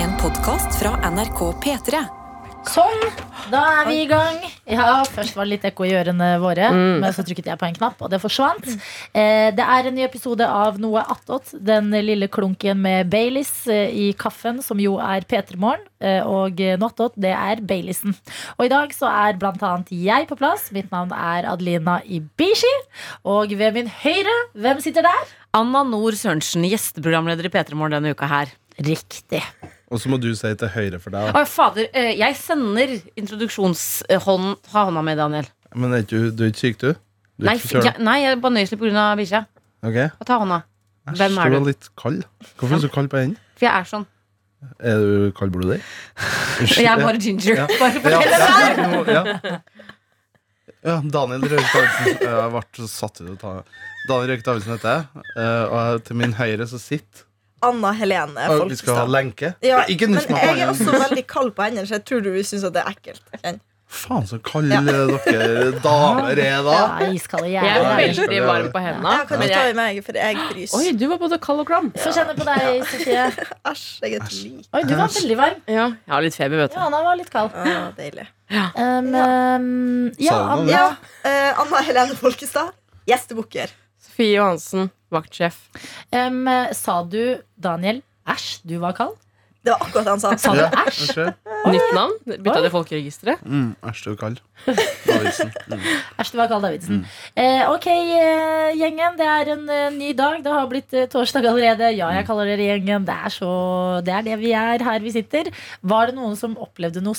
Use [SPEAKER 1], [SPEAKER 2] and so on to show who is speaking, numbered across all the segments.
[SPEAKER 1] En podkast fra NRK P3.
[SPEAKER 2] Sånn, da er vi i gang. Ja, Først var det litt ekko i ørene våre,
[SPEAKER 3] Mm.
[SPEAKER 2] men så trykket jeg på en knapp, og det forsvant. Eh, det er en ny episode av Noe attåt. Den lille klunken med Baileys eh, i kaffen, som jo er P3 Morgen. Eh, og eh, Noe attåt, det er Baileysen. Og i dag så er blant annet jeg på plass. Mitt navn er Adelina Ibishi. Og ved min høyre, hvem sitter der?
[SPEAKER 4] Anna Nord Sørensen, gjesteprogramleder i P3 Morgen denne uka her.
[SPEAKER 2] Riktig.
[SPEAKER 5] Og så må du si til høyre for deg.
[SPEAKER 4] Å, fader, eh, jeg sender introduksjonshånda mi, Daniel.
[SPEAKER 5] Men er ikke, du er ikke syk, du? du er
[SPEAKER 4] Nei,
[SPEAKER 5] ikke
[SPEAKER 4] f- ja,
[SPEAKER 5] forkjølet?
[SPEAKER 4] nei, jeg er banøyelig pga. bikkja.
[SPEAKER 5] Ok.
[SPEAKER 4] Og Ta hånda.
[SPEAKER 5] Æsj,
[SPEAKER 4] Hvem er
[SPEAKER 5] var
[SPEAKER 4] du?
[SPEAKER 5] litt kald. Hvorfor er du så kald på enden?
[SPEAKER 4] For jeg er sånn.
[SPEAKER 5] Er du kaldblodig? Unnskyld.
[SPEAKER 4] Jeg er bare ginger.
[SPEAKER 5] Ja.
[SPEAKER 4] Bare
[SPEAKER 5] ja,
[SPEAKER 4] fortell det.
[SPEAKER 5] ja, nå- ja. ja, Daniel Røyk Davidsen. Jeg ble satt ut av ta Daniel Røyk Davidsen heter jeg. eh, Og til min høyre så sitter
[SPEAKER 6] Anna Helene
[SPEAKER 5] Å, Vi skal ha
[SPEAKER 6] Folkestad.
[SPEAKER 5] lenke.
[SPEAKER 6] Ja,
[SPEAKER 5] Ikke
[SPEAKER 6] men
[SPEAKER 5] nuss meg på
[SPEAKER 6] jeg er også
[SPEAKER 5] hendene.
[SPEAKER 6] veldig kald på hendene, så jeg tror du vil synes at det er ekkelt. Kjenn.
[SPEAKER 5] Faen, så kalde dere damer er da.
[SPEAKER 2] Ja, iskalde
[SPEAKER 3] Jeg
[SPEAKER 2] jævla.
[SPEAKER 3] er
[SPEAKER 5] Ja,
[SPEAKER 3] veldig
[SPEAKER 5] ja.
[SPEAKER 3] varm på
[SPEAKER 6] Ja,
[SPEAKER 3] hendene.
[SPEAKER 6] kan du
[SPEAKER 3] Men
[SPEAKER 6] ta
[SPEAKER 3] jeg,
[SPEAKER 6] i meg, for jeg fryser.
[SPEAKER 3] oi, du var både kald og klam.
[SPEAKER 2] Få kjenne på deg, Sofie.
[SPEAKER 6] Æsj, jeg er et lik.
[SPEAKER 2] Oi, du var veldig varm.
[SPEAKER 3] Ja, jeg har litt feber, vet du.
[SPEAKER 2] Ja, han var litt kald.
[SPEAKER 6] Å, Ah, deilig.
[SPEAKER 2] Um, um, ja,
[SPEAKER 5] Sa du noe om
[SPEAKER 2] Anna,
[SPEAKER 5] det?
[SPEAKER 6] Ja, eh, Anna Helene Folkestad, gjestebukker.
[SPEAKER 3] Sofie Johansen, vaktsjef.
[SPEAKER 2] um, sa du, Daniel, æsj, du var kald?
[SPEAKER 6] Det var akkurat det han sa.
[SPEAKER 2] Sa du
[SPEAKER 5] Ja.
[SPEAKER 2] æsj?
[SPEAKER 5] Unnskyld.
[SPEAKER 3] Nytt navn. Bytta det i folkeregisteret.
[SPEAKER 5] Mm, Æsj, du er kald. Davidsen. Mm.
[SPEAKER 2] Æsj, du var kald, Davidsen. Eh, ok, eh, gjengen, det er en eh, ny dag. Det har blitt eh, torsdag allerede. Ja,
[SPEAKER 5] Mm.
[SPEAKER 2] jeg kaller dere gjengen. Det er, så, det er det vi er her vi sitter. Var det noen som opplevde noe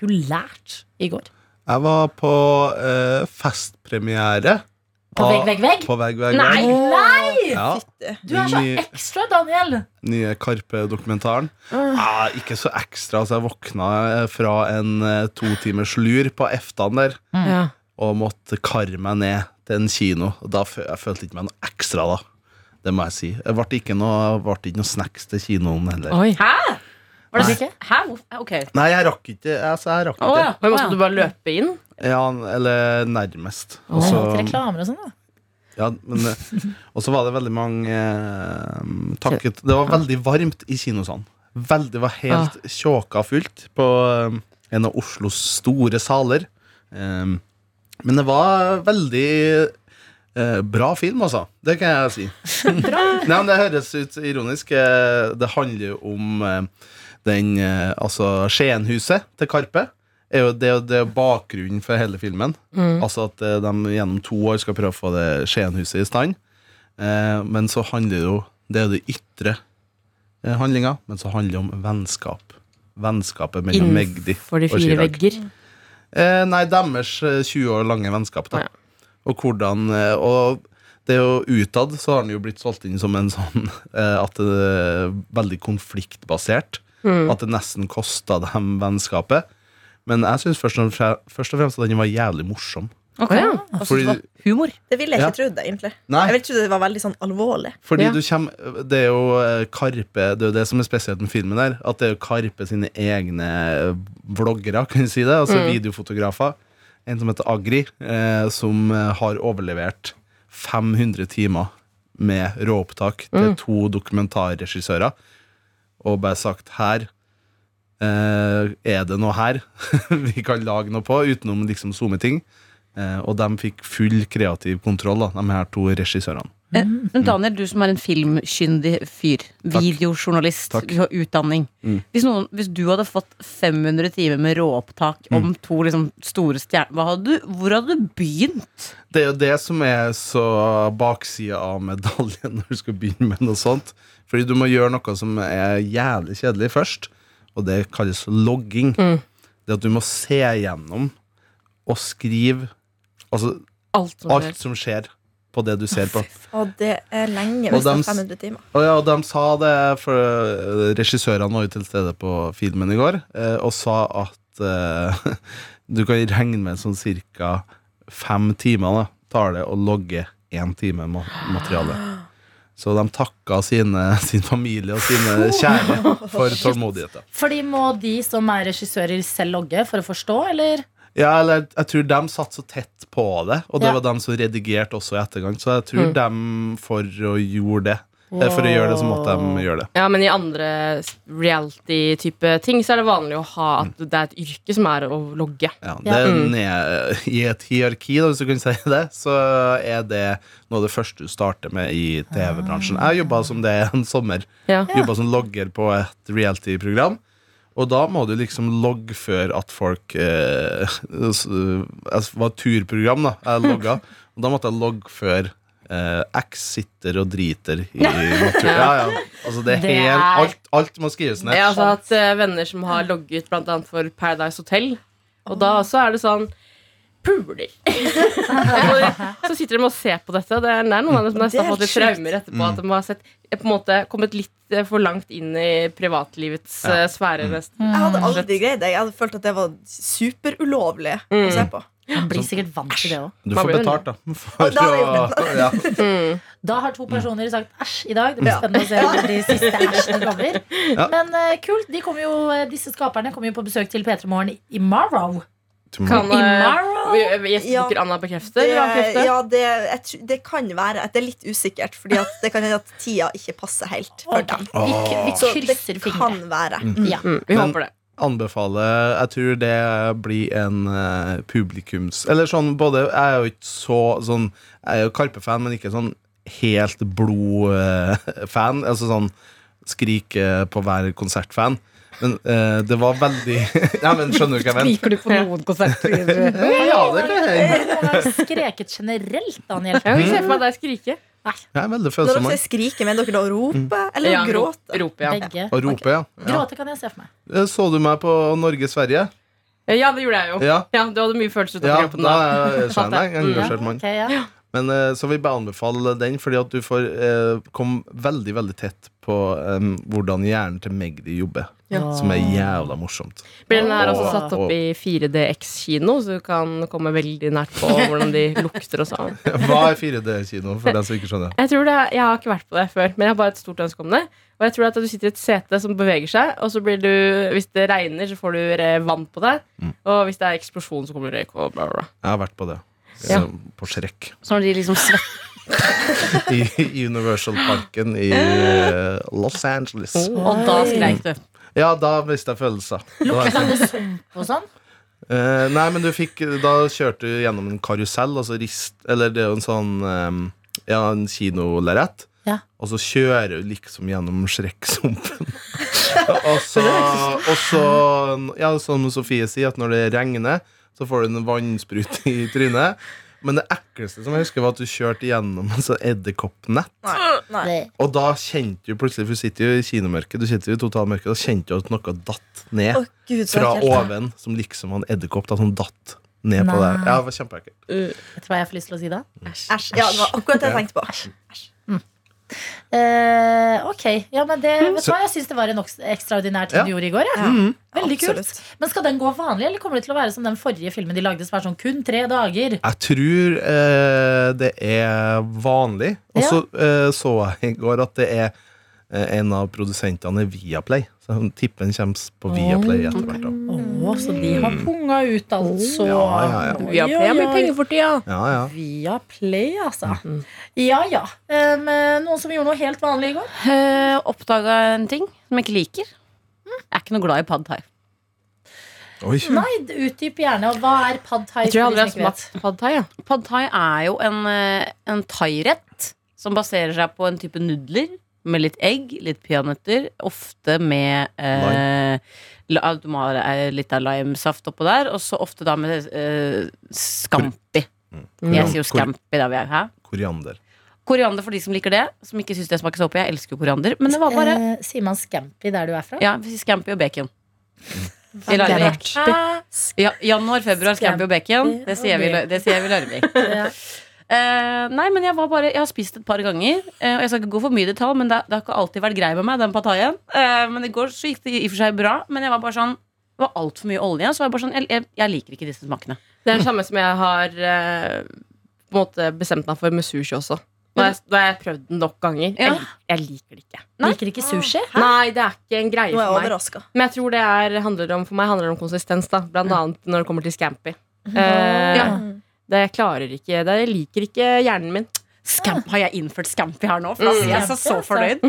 [SPEAKER 2] spektakulært i går?
[SPEAKER 5] Jeg var på eh, festpremiere.
[SPEAKER 2] På
[SPEAKER 5] av-
[SPEAKER 2] Vegg, vegg, vegg?
[SPEAKER 5] På vegg, vegg,
[SPEAKER 2] Nei,
[SPEAKER 5] vegg.
[SPEAKER 2] nei!
[SPEAKER 5] Ja,
[SPEAKER 6] Fytti.
[SPEAKER 2] Du er så
[SPEAKER 5] Ny-
[SPEAKER 2] ekstra, Daniel.
[SPEAKER 5] nye Karpe-dokumentaren. Ja, ikke så ekstra, så jeg våkna eh, fra en eh, to timers lur på eftan der
[SPEAKER 2] Mm.
[SPEAKER 3] Ja.
[SPEAKER 5] og måtte karre meg ned til en kino. Og Da fø- jeg følte ikke meg noe ekstra, da. Det må jeg si. Det ble ikke noe, ble ikke noe snacks til kinoen heller.
[SPEAKER 3] Oi.
[SPEAKER 4] Hæ? Var
[SPEAKER 2] Nei.
[SPEAKER 4] det ikke? Hæ? Hvor- Ok.
[SPEAKER 5] Nei, jeg rakk ikke. Altså, jeg rakk
[SPEAKER 4] Å
[SPEAKER 5] ikke.
[SPEAKER 4] ja.
[SPEAKER 3] Oi, måtte du bare løpe inn?
[SPEAKER 5] Ja, eller nærmest. Og
[SPEAKER 2] Det er
[SPEAKER 5] så-
[SPEAKER 2] alltid reklamer og sånn, da.
[SPEAKER 5] Ja, men eh, Og så var det veldig mange eh, takket Det var veldig varmt i kinosalen. Veldig, det var helt tjåka fullt på eh, en av Oslos store saler. Eh, men det var veldig eh, bra film, altså. Det kan jeg si. Nei, men Det høres ut ironisk. Eh, Det handler jo om eh, den eh, Altså Skienhuset til Karpe. Er jo, det er jo det er jo bakgrunnen for hele filmen.
[SPEAKER 3] Mm.
[SPEAKER 5] Altså at eh, de gjennom to år skal prøve å få det Skienhuset i stand. Eh, men så handler det jo Det er jo det ytre eh, handlinga, men så handler det om vennskap. Vennskapet mellom Magdi
[SPEAKER 3] For de
[SPEAKER 5] og
[SPEAKER 3] fire
[SPEAKER 5] Chirag.
[SPEAKER 3] vegger.
[SPEAKER 5] Eh, nei, deres eh, 20 år lange vennskap, da.
[SPEAKER 3] Ja.
[SPEAKER 5] Og hvordan eh, Og det er jo utad så har den jo blitt solgt inn som en sånn eh, at det er veldig konfliktbasert. At det nesten kosta dem vennskapet. Men jeg syns først, og fre- først og fremst at den var jævlig morsom.
[SPEAKER 4] Ok.
[SPEAKER 3] ja.
[SPEAKER 4] Og så
[SPEAKER 5] Fordi-
[SPEAKER 4] det var humor.
[SPEAKER 6] Det ville jeg
[SPEAKER 5] Ja.
[SPEAKER 6] ikke trodd, egentlig.
[SPEAKER 5] Nei.
[SPEAKER 6] Jeg ville trodd det var veldig sånn alvorlig.
[SPEAKER 5] Fordi
[SPEAKER 3] Ja.
[SPEAKER 5] du kommer, Det er jo eh, Karpe Det er jo det som er spesielt med filmen der At det er jo Karpe sine egne eh, Vloggere, kan du si det Altså videofotografer En som heter Agri eh, Som eh, har overlevert 500 timer Med råopptak Til to dokumentarregissører Og bare sagt her eh, Er det noe her Vi kan lage noe på Utenom liksom zoome ting eh, Og de fikk full kreativ kontroll da, De her to
[SPEAKER 4] Eh,
[SPEAKER 5] regissørene Mm.
[SPEAKER 4] Men Daniel, du som er en filmkyndig fyr, videojournalist,
[SPEAKER 5] Takk.
[SPEAKER 4] du har utdanning.
[SPEAKER 5] Mm.
[SPEAKER 4] Hvis, noen, hvis du hadde fått 500 timer med råopptak om
[SPEAKER 5] Mm.
[SPEAKER 4] to liksom, store stjerner, hva hadde du, hvor hadde du begynt?
[SPEAKER 5] Det er jo det som er så baksida av medaljen når du skal begynne med noe sånt. Fordi du må gjøre noe som er jævlig kjedelig først, og det kalles logging.
[SPEAKER 3] Mm.
[SPEAKER 5] Det at du må se gjennom og skrive altså,
[SPEAKER 3] Alt som
[SPEAKER 5] alt
[SPEAKER 3] skjer.
[SPEAKER 5] som skjer på det du ser på.
[SPEAKER 6] Og det er lenge,
[SPEAKER 5] Og
[SPEAKER 6] hvis det
[SPEAKER 5] dem
[SPEAKER 6] er
[SPEAKER 5] s-
[SPEAKER 6] 500 timer.
[SPEAKER 5] Og ja, og de sa det, for eh, regissørene var jo til stede på filmen i går, eh, og sa at eh, du kan regne med sånn cirka fem timer da, tar det å logge én time ma- materiale. Så de takka sine, sin familie og sine kjære for tålmodigheten.
[SPEAKER 2] Fordi må de som er regissører, selv logge for å forstå, eller?
[SPEAKER 5] Ja, eller jeg tror de satt så tett på det, og det
[SPEAKER 2] Ja.
[SPEAKER 5] var de som redigerte også i ettergang, så jeg tror de for å gjøre det, Eh, For å gjøre det, så måtte de gjøre det.
[SPEAKER 3] Ja, men i andre reality-type ting så er det vanlig å ha at
[SPEAKER 5] Mm.
[SPEAKER 3] det er et yrke som er å logge.
[SPEAKER 5] Ja, det
[SPEAKER 2] Ja.
[SPEAKER 5] er
[SPEAKER 3] Mm.
[SPEAKER 5] ned, I et hierarki, da, hvis du kan si det, så er det noe av det første du starter med i TV-bransjen. Jeg jobba som det en sommer.
[SPEAKER 3] Ja.
[SPEAKER 5] Jobba som logger på et reality-program. Og da må du liksom loggføre at folk eh, s- altså, Det var et turprogram, da. Jeg logga. Og da måtte jeg loggføre eh, X sitter og driter i naturen. Ja, ja. Altså, det er
[SPEAKER 4] Det er-
[SPEAKER 5] helt, alt, alt må skrives ned.
[SPEAKER 3] Jeg har altså hatt eh, venner som har logget bl.a. for Paradise Hotel, og da også er det sånn Puler. Og så sitter de og ser på dette. og Det er det er noen av dem som nesten har fått litt
[SPEAKER 6] Det er sjukt.
[SPEAKER 3] traumer etterpå.
[SPEAKER 5] Mm.
[SPEAKER 3] At de har sett, eh, på en måte kommet litt eh, for langt inn i privatlivets
[SPEAKER 5] Ja. Mm.
[SPEAKER 3] eh, sfære. nesten.
[SPEAKER 6] Jeg hadde aldri greid det. Jeg hadde følt at det var superulovlig å se på.
[SPEAKER 2] Man blir sikkert vant til det òg.
[SPEAKER 5] Du
[SPEAKER 3] Man
[SPEAKER 5] får
[SPEAKER 3] blir jo
[SPEAKER 5] betalt, da. For
[SPEAKER 6] da er
[SPEAKER 5] å, ja.
[SPEAKER 2] Da har
[SPEAKER 5] Mm.
[SPEAKER 2] to personer sagt æsj i dag. Det blir
[SPEAKER 6] Ja.
[SPEAKER 2] spennende å se hvor de siste æsjene kommer.
[SPEAKER 5] Ja.
[SPEAKER 2] Men eh, kult. De kommer jo, eh, disse skaperne kommer jo på besøk til P3 Morgen i morrow.
[SPEAKER 3] Kan,
[SPEAKER 2] I
[SPEAKER 3] eh,
[SPEAKER 2] morrow.
[SPEAKER 3] Gjestebukker Anna bekrefter?
[SPEAKER 6] Det,
[SPEAKER 3] eller avkrefter?
[SPEAKER 6] ja, det, jeg, tr- det kan være at det er litt usikkert, Fordi at det kan hende at tida ikke passer helt for dem.
[SPEAKER 2] Vi,
[SPEAKER 6] Så
[SPEAKER 2] vi
[SPEAKER 6] det
[SPEAKER 2] krysser fingre.
[SPEAKER 6] kan være.
[SPEAKER 2] Ja.
[SPEAKER 3] Mm, vi
[SPEAKER 5] Men-
[SPEAKER 3] håper det.
[SPEAKER 5] anbefale Jeg tror det blir en eh, publikums Eller sånn både Jeg er jo ikke så sånn Jeg er jo Karpe-fan, men ikke sånn helt blod-fan. altså sånn skrik eh, på hver konsert-fan. Men eh, det var veldig Nei, men skjønner du hva jeg mener?
[SPEAKER 4] Liker du på noen konserter?
[SPEAKER 5] Ja, det kan jeg.
[SPEAKER 2] Har du noen gang skreket generelt, Daniel?
[SPEAKER 3] Jeg kan ikke se
[SPEAKER 5] Mm.
[SPEAKER 3] for meg deg skrike.
[SPEAKER 5] Jeg er veldig
[SPEAKER 6] Når
[SPEAKER 5] følsom.
[SPEAKER 6] dere
[SPEAKER 5] mann.
[SPEAKER 6] sier skrike, mener dere da rope eller
[SPEAKER 3] Ja, ro-
[SPEAKER 6] gråte?
[SPEAKER 3] Rope, ja.
[SPEAKER 2] Begge.
[SPEAKER 5] Og rope, ja. ja.
[SPEAKER 2] Gråte kan jeg se for meg.
[SPEAKER 5] Eh, Så du meg på Norge-Sverige?
[SPEAKER 3] Ja, det gjorde jeg jo.
[SPEAKER 5] Ja.
[SPEAKER 3] Ja, Du hadde mye følelser ut av
[SPEAKER 5] ja. Da
[SPEAKER 3] kroppen da.
[SPEAKER 5] er jeg skjønner jeg
[SPEAKER 3] Mm.
[SPEAKER 5] engasjert mann.
[SPEAKER 2] ok, ja.
[SPEAKER 5] Men eh, Så vi bare anbefaler den, fordi at du får eh, komme veldig veldig tett på em, hvordan hjernen til Magdi jobber.
[SPEAKER 3] Ja.
[SPEAKER 5] Som er jævla morsomt.
[SPEAKER 3] Blir den her også
[SPEAKER 5] Åh.
[SPEAKER 3] altså satt opp i 4DX kino, så du kan komme veldig nært på hvordan de lukter og sånn.
[SPEAKER 5] Hva er 4D-kino, for den som ikke skjønner?
[SPEAKER 3] Jeg tror det, jeg har ikke vært på det før, men jeg har bare et stort ønske om det. Og jeg tror at du sitter i et sete som beveger seg, og så blir du, hvis det regner, så får du eh, vann på deg.
[SPEAKER 5] Mm.
[SPEAKER 3] Og hvis det er eksplosjon, så kommer det røyk og bla, bla, bla.
[SPEAKER 5] Jeg har vært på det. Så,
[SPEAKER 3] Ja.
[SPEAKER 5] På Shrek.
[SPEAKER 4] Så når de liksom svetter
[SPEAKER 5] I i Universal-parken i eh, Los Angeles.
[SPEAKER 3] Og da skreik du.
[SPEAKER 5] Ja, da mista jeg følelser. Da var jeg sånn,
[SPEAKER 2] Og sånn.
[SPEAKER 5] eh, nei, men du fikk Da kjørte du gjennom en karusell, altså rist Eller det er jo en sånn em, Ja, en kinolerret.
[SPEAKER 2] Ja.
[SPEAKER 5] Og så kjører du liksom gjennom Shrek-sumpen. og så, og så ja, som Sofie sier, at når det regner, så får du en vannsprut i trynet. Men det ekleste som jeg husker, var at du kjørte gjennom et sånt edderkoppnett.
[SPEAKER 6] Nei.
[SPEAKER 2] Det,
[SPEAKER 5] Og da kjente du plutselig, for du sitter jo i kinomørket, du sitter jo i totalmørket, da kjente du at noe datt
[SPEAKER 6] Å,
[SPEAKER 5] ned
[SPEAKER 6] Gud, så
[SPEAKER 5] fra
[SPEAKER 6] ekkelt.
[SPEAKER 5] oven, som liksom var en edderkopp, da, som datt ned på
[SPEAKER 2] Nei.
[SPEAKER 5] deg. Ja, det var kjempeekkelt.
[SPEAKER 2] vet du hva jeg får lyst til å si da?
[SPEAKER 6] Æsj. Ja, det var akkurat det jeg tenkte på.
[SPEAKER 2] Eh, ok. Ja, men det, vet du hva? Jeg syns det var en oks- ekstraordinær ting
[SPEAKER 5] Ja. Mm.
[SPEAKER 2] du gjorde i går. Ja. Veldig kult.
[SPEAKER 6] Absolutt.
[SPEAKER 2] Men skal den gå vanlig, eller kommer det til å være som den forrige filmen de lagde, som er sånn kun tre dager?
[SPEAKER 5] Jeg tror eh, det er vanlig. Og så eh, så jeg i går at det er eh, en av produsentene er Viaplay. Så jeg tipper den kommer på Viaplay etter hvert. da.
[SPEAKER 2] Å, så de har punga ut, altså.
[SPEAKER 5] Ja, ja, ja.
[SPEAKER 3] Vi har
[SPEAKER 2] Oi,
[SPEAKER 3] pent
[SPEAKER 2] oi,
[SPEAKER 3] mye
[SPEAKER 2] oi.
[SPEAKER 3] penger for tida.
[SPEAKER 5] Ja, ja.
[SPEAKER 2] Via Play, altså.
[SPEAKER 5] Mm-hmm.
[SPEAKER 2] Ja ja. Um, eh, noen som gjorde noe helt vanlig i går?
[SPEAKER 4] uh, Oppdaga en ting som jeg ikke liker. Mm. Jeg er ikke noe glad i pad thai.
[SPEAKER 5] Oi.
[SPEAKER 2] Nei, utdyp gjerne. Og hva er pad thai?
[SPEAKER 3] Jeg tror
[SPEAKER 2] for de
[SPEAKER 3] jeg aldri har
[SPEAKER 2] som ikke vet?
[SPEAKER 3] smakt pad thai. Ja.
[SPEAKER 4] Pad thai er jo en, eh, en thairett som baserer seg på en type nudler med litt egg, litt peanøtter, ofte med eh, la- Du må ha eh, litt av limesaft oppå der, og så ofte da med eh, scampi. Jeg sier jo
[SPEAKER 5] Kor-
[SPEAKER 4] scampi der vi er. Hæ?
[SPEAKER 5] Koriander.
[SPEAKER 4] Koriander for de som liker det, som ikke syns det smaker såpe. Jeg elsker jo koriander, men det var bare
[SPEAKER 2] Eh, sier man scampi der du er fra?
[SPEAKER 4] Ja, vi sier scampi og bacon. I Larvik. Ja, januar, februar, scampi og bacon. Det sier vi, i- det sier vi i Larvik.
[SPEAKER 2] Ja.
[SPEAKER 4] Eh, nei, men jeg var bare Jeg har spist et par ganger. eh, og Jeg skal ikke gå for mye i detalj, men det, det har ikke alltid vært grei med meg, den pataien. Uh, men i går så gikk det i og for seg bra. Men jeg var bare sånn det var altfor mye olje. Så var jeg bare sånn jeg, jeg, jeg liker ikke disse smakene.
[SPEAKER 3] Det er det samme som jeg har eh, på en måte bestemt meg for med sushi også. Nå har jeg, nå har jeg prøvd den nok ganger.
[SPEAKER 4] Ja.
[SPEAKER 3] Jeg, lik- jeg liker det ikke.
[SPEAKER 2] Liker ikke sushi?
[SPEAKER 3] Nei, det er ikke en greie
[SPEAKER 6] Nå er jeg
[SPEAKER 3] for meg.
[SPEAKER 6] overraska.
[SPEAKER 3] Men jeg tror det er, handler om, for meg handler det om konsistens, da. Blant annet når det kommer til scampi. Eh,
[SPEAKER 4] Ja.
[SPEAKER 3] Det jeg klarer ikke Det jeg liker ikke hjernen min.
[SPEAKER 4] Scamp, har jeg innført Scampi her nå? For da sier jeg så, så fornøyd.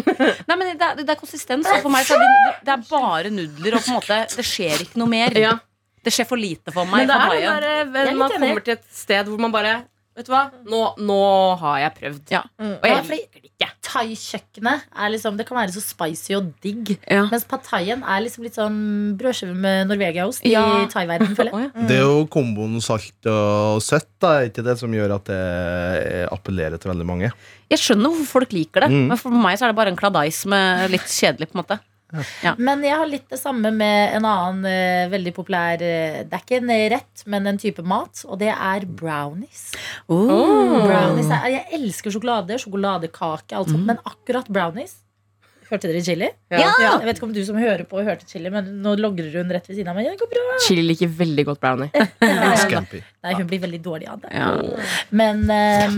[SPEAKER 4] Nei, men det, er- det er konsistens. Og for meg så er det, det er bare nudler, og på en måte det skjer ikke noe mer.
[SPEAKER 3] Ja.
[SPEAKER 4] Det skjer for lite for meg.
[SPEAKER 3] Men det
[SPEAKER 4] på
[SPEAKER 3] er
[SPEAKER 4] Hawaii.
[SPEAKER 3] den der,
[SPEAKER 2] Jeg er
[SPEAKER 3] eh,
[SPEAKER 2] litt
[SPEAKER 3] man
[SPEAKER 2] enig.
[SPEAKER 3] kommer til et sted hvor man bare Vet du hva, nå, nå har jeg prøvd.
[SPEAKER 4] Ja.
[SPEAKER 3] Og jeg
[SPEAKER 2] Ja, fordi-
[SPEAKER 3] liker det ikke.
[SPEAKER 2] Thai-kjøkkenet er liksom, det kan være så spicy og digg.
[SPEAKER 4] Ja.
[SPEAKER 2] Mens pad thaien er liksom litt sånn brødskive med Norvegia-ost
[SPEAKER 4] Ja.
[SPEAKER 2] i thaiverden, føler jeg.
[SPEAKER 5] Det er jo komboen salt og søtt da, er ikke det som gjør at det eh, appellerer til veldig mange.
[SPEAKER 4] Jeg skjønner hvorfor folk liker det,
[SPEAKER 5] Mm.
[SPEAKER 4] men for meg så er det bare en kladais med litt kjedelig. på en måte
[SPEAKER 2] Men jeg har litt det samme med en annen eh, veldig populær eh, Det er ikke en rett, men en type mat, og det er brownies. brownies er, jeg elsker sjokolade, sjokoladekake, alt sånt, men akkurat brownies Hørte dere chili?
[SPEAKER 3] Ja.
[SPEAKER 2] Jeg vet ikke om du som hører på, hørte chili, men nå logrer hun rett ved siden av meg. Ja, det går bra.
[SPEAKER 3] Chili liker veldig godt brownie.
[SPEAKER 5] Scampi.
[SPEAKER 2] Nei, hun blir veldig dårlig av det.
[SPEAKER 4] Ja.
[SPEAKER 2] Men ehm,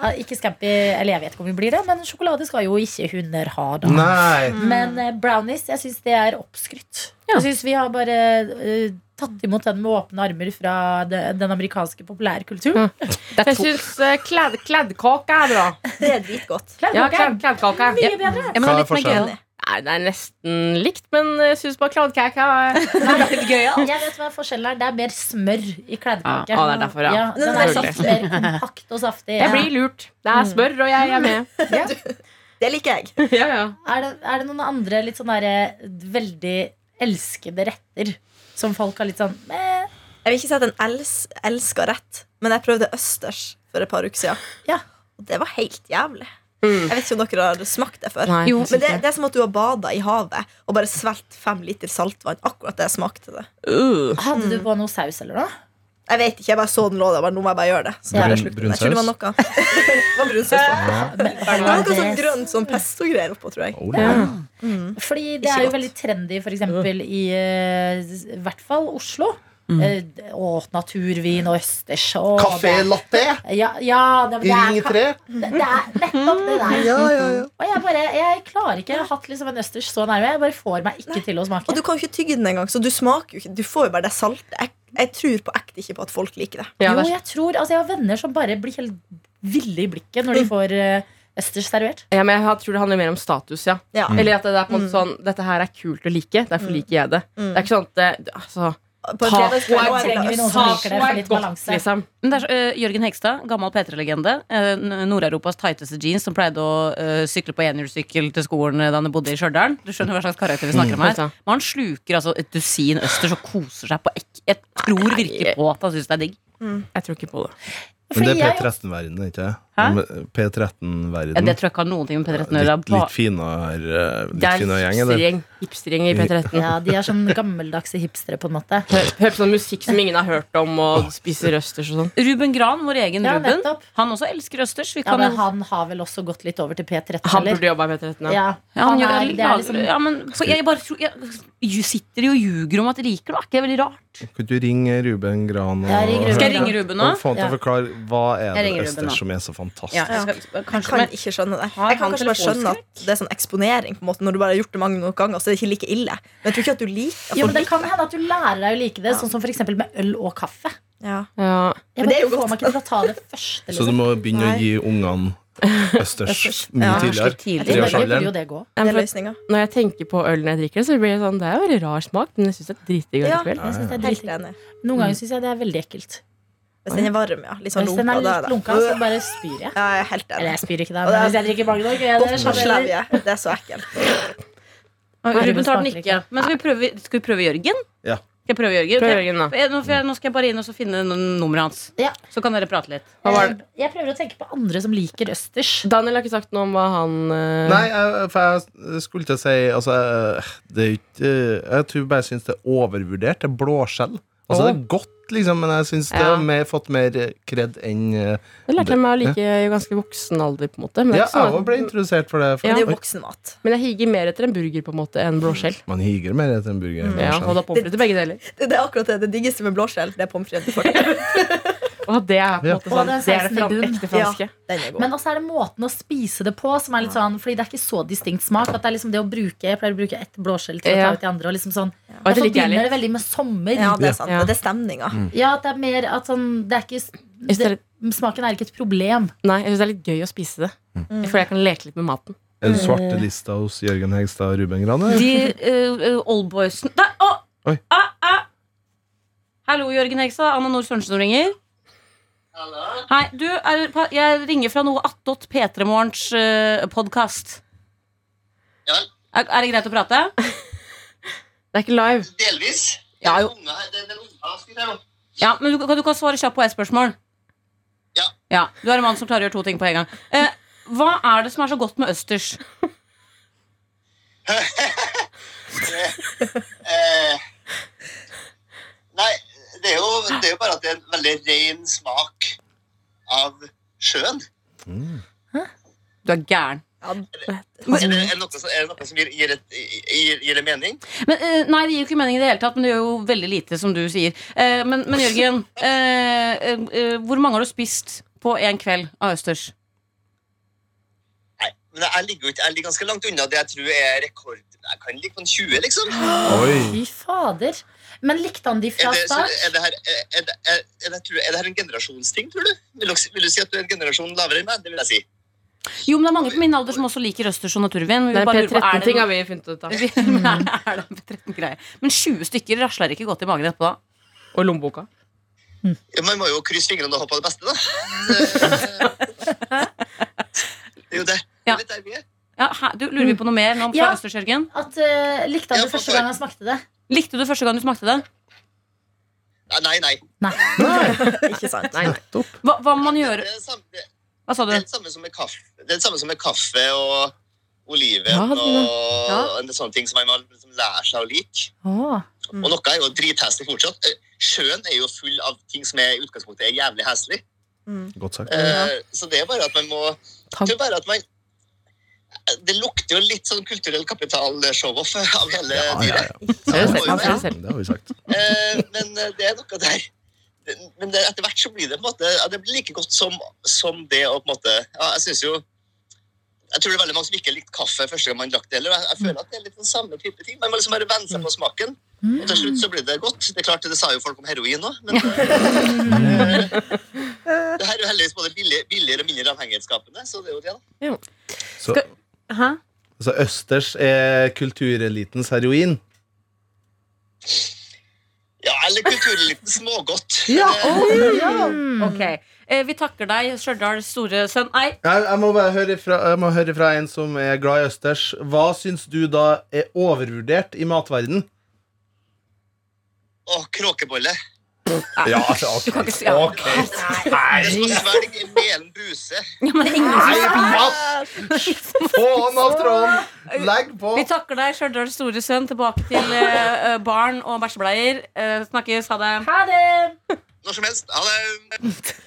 [SPEAKER 2] ja, ikke scampi, eller jeg vet ikke om hun blir det, men sjokolade skal jo ikke hunder ha, da.
[SPEAKER 5] Nei.
[SPEAKER 3] Mm.
[SPEAKER 2] Men eh, brownies, jeg syns det er oppskrytt. Jeg synes Vi har bare eh, tatt imot den med åpne armer fra de, den amerikanske populærkulturen.
[SPEAKER 3] Mm.
[SPEAKER 4] Det er
[SPEAKER 3] Jeg
[SPEAKER 4] to.
[SPEAKER 3] syns kladdkake er bra.
[SPEAKER 6] Det er dritgodt.
[SPEAKER 2] Kladdkake
[SPEAKER 3] Ja,
[SPEAKER 2] er
[SPEAKER 3] kledd- kladdkake.
[SPEAKER 2] mye bedre.
[SPEAKER 4] Ja, men det er litt
[SPEAKER 5] Hva er
[SPEAKER 4] mer gøy.
[SPEAKER 5] forskjellen?
[SPEAKER 4] da.
[SPEAKER 3] Nei, det er nesten likt, men jeg syns bare kladdkake er
[SPEAKER 2] Jeg vet hva forskjellen er. Det er mer smør i kladdkake.
[SPEAKER 3] Ja, å, det er derfor, ja.
[SPEAKER 2] den er saft, mer kompakt og saftig.
[SPEAKER 3] Jeg blir lurt. Det er smør, og jeg er med.
[SPEAKER 6] Det liker jeg.
[SPEAKER 3] Ja, ja.
[SPEAKER 2] Er, det, er det noen andre litt sånn derre veldig elskede retter som folk har litt sånn eh,
[SPEAKER 6] Jeg vil ikke si at den els elsker rett, men jeg prøvde østers for et par uker siden.
[SPEAKER 2] Ja.
[SPEAKER 6] Og det var helt jævlig.
[SPEAKER 3] Mm.
[SPEAKER 6] Jeg vet ikke om dere har smakt det før.
[SPEAKER 3] Nei,
[SPEAKER 4] Jo,
[SPEAKER 6] Men det, det er som at du har bada i havet og bare svelget fem liter saltvann. Akkurat det smakte det.
[SPEAKER 2] Hadde du på noe saus eller noe?
[SPEAKER 6] Jeg vet ikke, jeg bare så den lå der. bare, Nå må jeg bare gjøre det. Så
[SPEAKER 2] Ja.
[SPEAKER 6] bare
[SPEAKER 5] Brun-
[SPEAKER 6] slukte
[SPEAKER 5] brun
[SPEAKER 6] den. Jeg tror det var
[SPEAKER 5] saus?
[SPEAKER 6] noe. det var brun saus på. Det var noe sånn grønt sånn pesto-greier oppå, tror jeg.
[SPEAKER 5] Oh, ja.
[SPEAKER 2] Fordi det
[SPEAKER 6] Ikke
[SPEAKER 2] er jo
[SPEAKER 6] godt.
[SPEAKER 2] veldig trendy for eksempel i eh, s- i hvert fall Oslo. Eh, d- Å, naturvin og østers og
[SPEAKER 5] Kaffe
[SPEAKER 2] det-
[SPEAKER 5] latte
[SPEAKER 2] Ja, ja det,
[SPEAKER 5] i
[SPEAKER 2] det,
[SPEAKER 5] Ring
[SPEAKER 2] er, ka-
[SPEAKER 5] 3.
[SPEAKER 2] det, det er nettopp det der.
[SPEAKER 5] Ja, ja, ja.
[SPEAKER 2] Og jeg bare, jeg klarer ikke. Jeg har hatt liksom en østers så nærme. Jeg bare får meg ikke til å smake.
[SPEAKER 6] Og du kan jo ikke tygge den engang, så du smaker jo ikke. Du får jo bare det salte. Jeg, jeg tror på ekte ikke på at folk liker det.
[SPEAKER 3] Ja,
[SPEAKER 2] jo,
[SPEAKER 3] det er-
[SPEAKER 2] jeg tror, altså jeg har venner som bare blir helt ville i blikket når de får eh, østers servert.
[SPEAKER 3] ja, men jeg tror det handler mer om status, ja.
[SPEAKER 6] Ja.
[SPEAKER 5] Mm.
[SPEAKER 3] Eller at det er på en måte sånn Dette her er kult å like, derfor liker jeg det. Det er ikke sånn at det, altså,
[SPEAKER 6] På en
[SPEAKER 3] Taco
[SPEAKER 6] fredagskveld
[SPEAKER 3] er-
[SPEAKER 6] må jeg
[SPEAKER 2] trenger vi
[SPEAKER 6] la-
[SPEAKER 2] noen som liker det for litt balanse.
[SPEAKER 3] liksom.
[SPEAKER 4] Men det er, så- øh, Jørgen Hegstad, gammel P3-legende. øh, n- Nord-Europas tighteste jeans som pleide å øh, sykle på enhjulssykkel til skolen øh, da han bodde i Stjørdal. Du skjønner hva slags karakter vi snakker om her.
[SPEAKER 3] Mm.
[SPEAKER 4] Men han sluker altså et dusin østers og koser seg på ekk. Jeg tror virkelig på at han syns det er digg.
[SPEAKER 3] Jeg tror ikke på det.
[SPEAKER 5] Men det
[SPEAKER 2] Fordi
[SPEAKER 5] er
[SPEAKER 2] jeg,
[SPEAKER 5] P13-verden, ikke det?
[SPEAKER 4] Hæ? Ja,
[SPEAKER 5] P13-verden.
[SPEAKER 4] det tror jeg ikke har noen ting med P3 å gjøre.
[SPEAKER 5] Litt,
[SPEAKER 4] Det er
[SPEAKER 5] litt
[SPEAKER 4] bare-
[SPEAKER 5] finere, eh,
[SPEAKER 3] Det
[SPEAKER 5] litt
[SPEAKER 3] er
[SPEAKER 5] finere gjeng, eller?
[SPEAKER 3] hipstergjeng. Hipstergjeng i P13.
[SPEAKER 2] ja, de er sånn gammeldagse hipstere på en måte.
[SPEAKER 3] Hører hører på sånn musikk som ingen har hørt om, og spiser østers og sånn.
[SPEAKER 4] Ruben Gran, vår egen
[SPEAKER 2] Ja,
[SPEAKER 4] Ruben,
[SPEAKER 2] nettopp.
[SPEAKER 4] han også elsker østers. Vi
[SPEAKER 2] Ja,
[SPEAKER 4] kan jo
[SPEAKER 2] men han har vel også gått litt over til P13,
[SPEAKER 3] Han
[SPEAKER 2] eller?
[SPEAKER 3] burde jobba i P13.
[SPEAKER 2] Ja,
[SPEAKER 3] Ja.
[SPEAKER 4] Ja, han
[SPEAKER 2] han
[SPEAKER 4] gjør,
[SPEAKER 2] er, det er liksom
[SPEAKER 4] ja, men, for jeg bare tror jeg, jeg sitter jo og ljuger om at jeg liker det. Er ikke det veldig rart?
[SPEAKER 5] Kan du ringe Ruben Gran og
[SPEAKER 2] Jeg ringer Ruben.
[SPEAKER 4] Skal jeg ringe Ruben nå?
[SPEAKER 5] Og få han til å
[SPEAKER 2] Ja.
[SPEAKER 5] forklare hva er
[SPEAKER 4] Jeg
[SPEAKER 5] det
[SPEAKER 4] ringer Ruben nå.
[SPEAKER 5] østers som er så fantastisk?
[SPEAKER 4] Ja, jeg skal,
[SPEAKER 6] Jeg
[SPEAKER 4] kanskje,
[SPEAKER 6] kan
[SPEAKER 4] men,
[SPEAKER 6] ikke skjønne det.
[SPEAKER 4] Har
[SPEAKER 6] Jeg kan
[SPEAKER 4] han
[SPEAKER 6] kanskje bare skjønne
[SPEAKER 4] telefonskrekk?
[SPEAKER 6] at det er sånn eksponering. på en måte Når du bare har gjort det mange nok ganger, så er det ikke like ille. Men jeg tror ikke at du liker at
[SPEAKER 2] Jo, men
[SPEAKER 6] folk
[SPEAKER 2] Det kan
[SPEAKER 6] liker det.
[SPEAKER 2] hende at du lærer deg å like det,
[SPEAKER 6] Ja.
[SPEAKER 2] sånn som for eksempel med øl og kaffe.
[SPEAKER 6] Ja.
[SPEAKER 3] Ja.
[SPEAKER 2] Jeg
[SPEAKER 6] Men det er
[SPEAKER 2] bare
[SPEAKER 6] jo
[SPEAKER 2] får
[SPEAKER 6] godt.
[SPEAKER 2] meg ikke til å ta det første.
[SPEAKER 5] Så du
[SPEAKER 2] Liksom.
[SPEAKER 5] må begynne å
[SPEAKER 6] Nei.
[SPEAKER 5] gi ungene østers mye
[SPEAKER 6] Ja.
[SPEAKER 5] tidligere.
[SPEAKER 2] Jeg tror Norge
[SPEAKER 5] treårsalderen.
[SPEAKER 2] burde jo det gå.
[SPEAKER 3] Ja,
[SPEAKER 6] Det
[SPEAKER 3] men
[SPEAKER 6] er
[SPEAKER 3] for at
[SPEAKER 6] løsninga.
[SPEAKER 3] Når jeg tenker på øl når jeg drikker det, så blir det sånn Det er jo veldig rar smak, men jeg syns det er dritdigg
[SPEAKER 6] Ja.
[SPEAKER 3] allikevel.
[SPEAKER 2] Jeg synes det er
[SPEAKER 6] Helt
[SPEAKER 2] dritdigg.
[SPEAKER 6] enig.
[SPEAKER 2] Noen ganger syns jeg det er veldig ekkelt.
[SPEAKER 6] Hvis den er varm, ja. Litt sånn
[SPEAKER 2] Hvis den
[SPEAKER 6] lunka,
[SPEAKER 2] er
[SPEAKER 6] da
[SPEAKER 2] litt
[SPEAKER 6] er det.
[SPEAKER 2] lunka, så bare spyr jeg.
[SPEAKER 6] Ja, jeg er helt
[SPEAKER 2] Eller
[SPEAKER 6] enig.
[SPEAKER 2] jeg spyr ikke der,
[SPEAKER 6] Og det
[SPEAKER 2] men
[SPEAKER 6] er-
[SPEAKER 2] hvis jeg drikker Bagdog gjør jeg det.
[SPEAKER 6] Godt med
[SPEAKER 2] sjameler.
[SPEAKER 6] slavje. Det er så ekkelt.
[SPEAKER 4] Ruben tar den
[SPEAKER 2] smaker
[SPEAKER 4] ikke. Men skal vi prøve, skal vi prøve Jørgen?
[SPEAKER 5] Ja.
[SPEAKER 4] Skal jeg prøve Jørgen?
[SPEAKER 3] Prøv Jørgen, da.
[SPEAKER 4] For jeg- Nå, for jeg, nå skal jeg bare inn og så finne n- nummeret hans.
[SPEAKER 2] Ja.
[SPEAKER 4] Så kan dere prate litt.
[SPEAKER 3] Hva var det?
[SPEAKER 2] Eh, Jeg prøver å tenke på andre som liker østers.
[SPEAKER 3] Daniel har ikke sagt noe om hva han eh,
[SPEAKER 5] Nei, jeg, for jeg skulle til å si altså, jeg- det er jo ikke, eh, Jeg tror bare jeg syns det er overvurdert. Det er blåskjell. Altså, det er godt, liksom, men jeg syns det har
[SPEAKER 3] Ja.
[SPEAKER 5] mer, fått mer kred enn eh,
[SPEAKER 3] Det lærte jeg meg å like i ganske voksen alder, på en måte. Men, det er
[SPEAKER 5] Ja,
[SPEAKER 3] ikke sånn
[SPEAKER 5] jeg
[SPEAKER 3] at-
[SPEAKER 5] òg ble introdusert for det. For,
[SPEAKER 6] Men det er jo
[SPEAKER 5] Oi,
[SPEAKER 6] voksenmat.
[SPEAKER 3] men jeg higer mer etter en burger på en måte enn blåskjell.
[SPEAKER 5] man higer mer etter en burger.
[SPEAKER 4] Mm.
[SPEAKER 5] enn
[SPEAKER 3] Ja,
[SPEAKER 5] blåskjell.
[SPEAKER 3] og da pommes frites begge deler.
[SPEAKER 6] Det det er akkurat det. Det diggeste med blåskjell, det er pommes frites. du får til.
[SPEAKER 3] Og det er på en
[SPEAKER 5] Ja.
[SPEAKER 3] måte sånn
[SPEAKER 2] Og den
[SPEAKER 3] Det er det
[SPEAKER 2] sausen i
[SPEAKER 3] fran
[SPEAKER 2] bunn.
[SPEAKER 3] ekte
[SPEAKER 6] Ja,
[SPEAKER 3] franske.
[SPEAKER 6] den er god.
[SPEAKER 2] Men også er det måten å spise det på som er litt sånn Fordi det er ikke så distinkt smak. At det er liksom det å bruke Jeg pleier å bruke ett blåskjell til å
[SPEAKER 3] Ja.
[SPEAKER 2] ta ut de andre. Og liksom sånn
[SPEAKER 3] Og
[SPEAKER 2] Jeg
[SPEAKER 3] det liker jeg
[SPEAKER 2] forbinder
[SPEAKER 3] litt.
[SPEAKER 2] det veldig med sommer.
[SPEAKER 6] Ja, det er sant.
[SPEAKER 3] Ja.
[SPEAKER 6] Det er stemninga.
[SPEAKER 2] Ja, at det er mer at sånn Det er ikke
[SPEAKER 3] Jeg synes det er
[SPEAKER 2] det, smaken er ikke et problem.
[SPEAKER 3] Nei, jeg synes det er litt gøy å spise det.
[SPEAKER 4] Mm.
[SPEAKER 6] Mm.
[SPEAKER 3] Jeg føler jeg kan leke litt med maten.
[SPEAKER 5] Er du svartelista hos Jørgen Hegstad og Ruben Gran? eller?
[SPEAKER 4] De uh, oldboysen Nei, å!
[SPEAKER 5] Oi.
[SPEAKER 4] Ah, ah. Hallo, Jørgen Hegstad. Anne Nord Sørensen ringer. Hei, du, er, pa- jeg ringer fra noe attåt P3morgens uh, podkast.
[SPEAKER 7] Ja.
[SPEAKER 4] Er, er det greit å prate?
[SPEAKER 3] Det er ikke live.
[SPEAKER 7] Delvis.
[SPEAKER 4] Ja, jo.
[SPEAKER 7] Den unge- den- den unge har skutt her nå.
[SPEAKER 4] Ja, men du, kan- du kan svare kjapt på ett spørsmål.
[SPEAKER 7] Ja.
[SPEAKER 4] Du er en mann som klarer å gjøre to ting på en gang. Eh, hva er det som er så godt med østers?
[SPEAKER 7] Eh, nei, det er, jo, det er jo bare at det er en veldig ren smak av sjøen.
[SPEAKER 4] Du er gæren.
[SPEAKER 7] Altså, Er det, er det noe som, er det noe som gir, gir, et, gir, gir det mening?
[SPEAKER 4] Men, eh, nei, det gir jo ikke mening i det hele tatt, men det gjør jo veldig lite, som du sier. Eh, men, men Jørgen, eh, eh, eh, hvor mange har du spist på én kveld av østers?
[SPEAKER 7] Nei, men jeg ligger jo ikke Jeg ligger ganske langt unna det jeg tror er rekord. Jeg kan ligge på en 20, liksom.
[SPEAKER 5] Oi.
[SPEAKER 2] Fy fader. Men likte han de
[SPEAKER 7] Er
[SPEAKER 2] fra
[SPEAKER 7] det, så, er
[SPEAKER 2] start?
[SPEAKER 7] det, her, er, er, det- er, er, det, tror du- er det her en generasjonsting, tror du? Vil, dere- vil du si at du er en generasjon lavere enn meg? Det vil jeg si.
[SPEAKER 4] Jo, men det er mange på min alder som også liker østers og naturvin. men
[SPEAKER 3] Det
[SPEAKER 4] vi
[SPEAKER 3] er
[SPEAKER 4] bare lurer på, er det
[SPEAKER 3] P13-ting
[SPEAKER 4] noe-
[SPEAKER 3] har vi funnet ut av.
[SPEAKER 4] er det en P13-greie? Men 20 stykker rasler ikke godt i magen etterpå, da.
[SPEAKER 3] Og lommeboka.
[SPEAKER 7] Ja, Man må jo krysse fingrene og håpe på det beste, da. Det er jo det. Det
[SPEAKER 4] Ja.
[SPEAKER 7] er litt der vi er.
[SPEAKER 4] Ja, hæ, du, lurer vi på noe mer nå fra
[SPEAKER 2] Ja.
[SPEAKER 4] østers, Jørgen?
[SPEAKER 2] At, eh, likte han
[SPEAKER 7] Ja,
[SPEAKER 2] det første
[SPEAKER 7] for-
[SPEAKER 2] gang han smakte det?
[SPEAKER 4] Likte du første gang du smakte det?
[SPEAKER 7] Nei, nei. nei.
[SPEAKER 6] Ikke sant?
[SPEAKER 3] Nei, nei.
[SPEAKER 4] Hva, hva må man
[SPEAKER 7] Det,
[SPEAKER 4] gjøre?
[SPEAKER 7] er det samme, det,
[SPEAKER 4] Hva sa
[SPEAKER 7] det
[SPEAKER 4] du?
[SPEAKER 7] er det samme som med kaffe, det er det samme som med kaffe og oliven
[SPEAKER 3] Ja, det-
[SPEAKER 7] og,
[SPEAKER 3] ja.
[SPEAKER 7] og en sånne ting som man må liksom lære seg å like.
[SPEAKER 2] Åh.
[SPEAKER 7] Og noe er jo dritheslig fortsatt. Eh, Sjøen er jo full av ting som er i utgangspunktet er jævlig heslig.
[SPEAKER 5] Godt sagt.
[SPEAKER 7] Eh, Så det er bare at man må
[SPEAKER 3] Ta-
[SPEAKER 7] Det er bare at man Det lukter jo litt sånn kulturell kapital-show-off av hele
[SPEAKER 5] Ja, ja,
[SPEAKER 7] dyret.
[SPEAKER 5] ja.
[SPEAKER 3] Ser du
[SPEAKER 7] Ja,
[SPEAKER 3] selv?
[SPEAKER 7] ja.
[SPEAKER 3] Han ser det selv.
[SPEAKER 5] Det har vi sagt.
[SPEAKER 7] Eh, men eh, det er noe der Det- Men det, etter hvert så blir det på en måte ja, Det blir like godt som, som det å på en måte ja, Jeg synes jo Jeg tror det er veldig mange som ikke likte kaffe første gang man drakk det heller. Jeg, jeg føler at det er litt den samme type ting. Man må liksom bare venne seg på smaken. Og til slutt så blir det godt. Det er klart, det sa jo folk om heroin òg, men eh, Det her er jo heldigvis både billig, billigere og mindre avhengighetsskapende, så det er jo det, da.
[SPEAKER 5] Så,
[SPEAKER 3] Hæ?
[SPEAKER 5] så østers er kulturelitens heroin.
[SPEAKER 7] Ja, eller kultureliten smågodt. Det-
[SPEAKER 4] Ok, eh, Vi takker deg, Stjørdals store sønn. Nei,
[SPEAKER 5] Jeg, jeg må bare høre fra, jeg må høre fra en som er glad i østers. Hva syns du da er overvurdert i matverden?
[SPEAKER 7] Å, kråkebolle.
[SPEAKER 5] Ja, altså, ok.
[SPEAKER 4] Ah. kan ikke si- ja.
[SPEAKER 5] Ok. Nei,
[SPEAKER 7] Det er som å svelge melen bruse.
[SPEAKER 4] ja, men ingen
[SPEAKER 5] Mats! Få han av tråden! Legg på!
[SPEAKER 4] Vi takker deg, Stjørdals store sønn. Tilbake til eh, eh, barn og bæsjebleier. Eh, snakkes, ha det.
[SPEAKER 2] Ha det!
[SPEAKER 7] Når som helst. Ha det.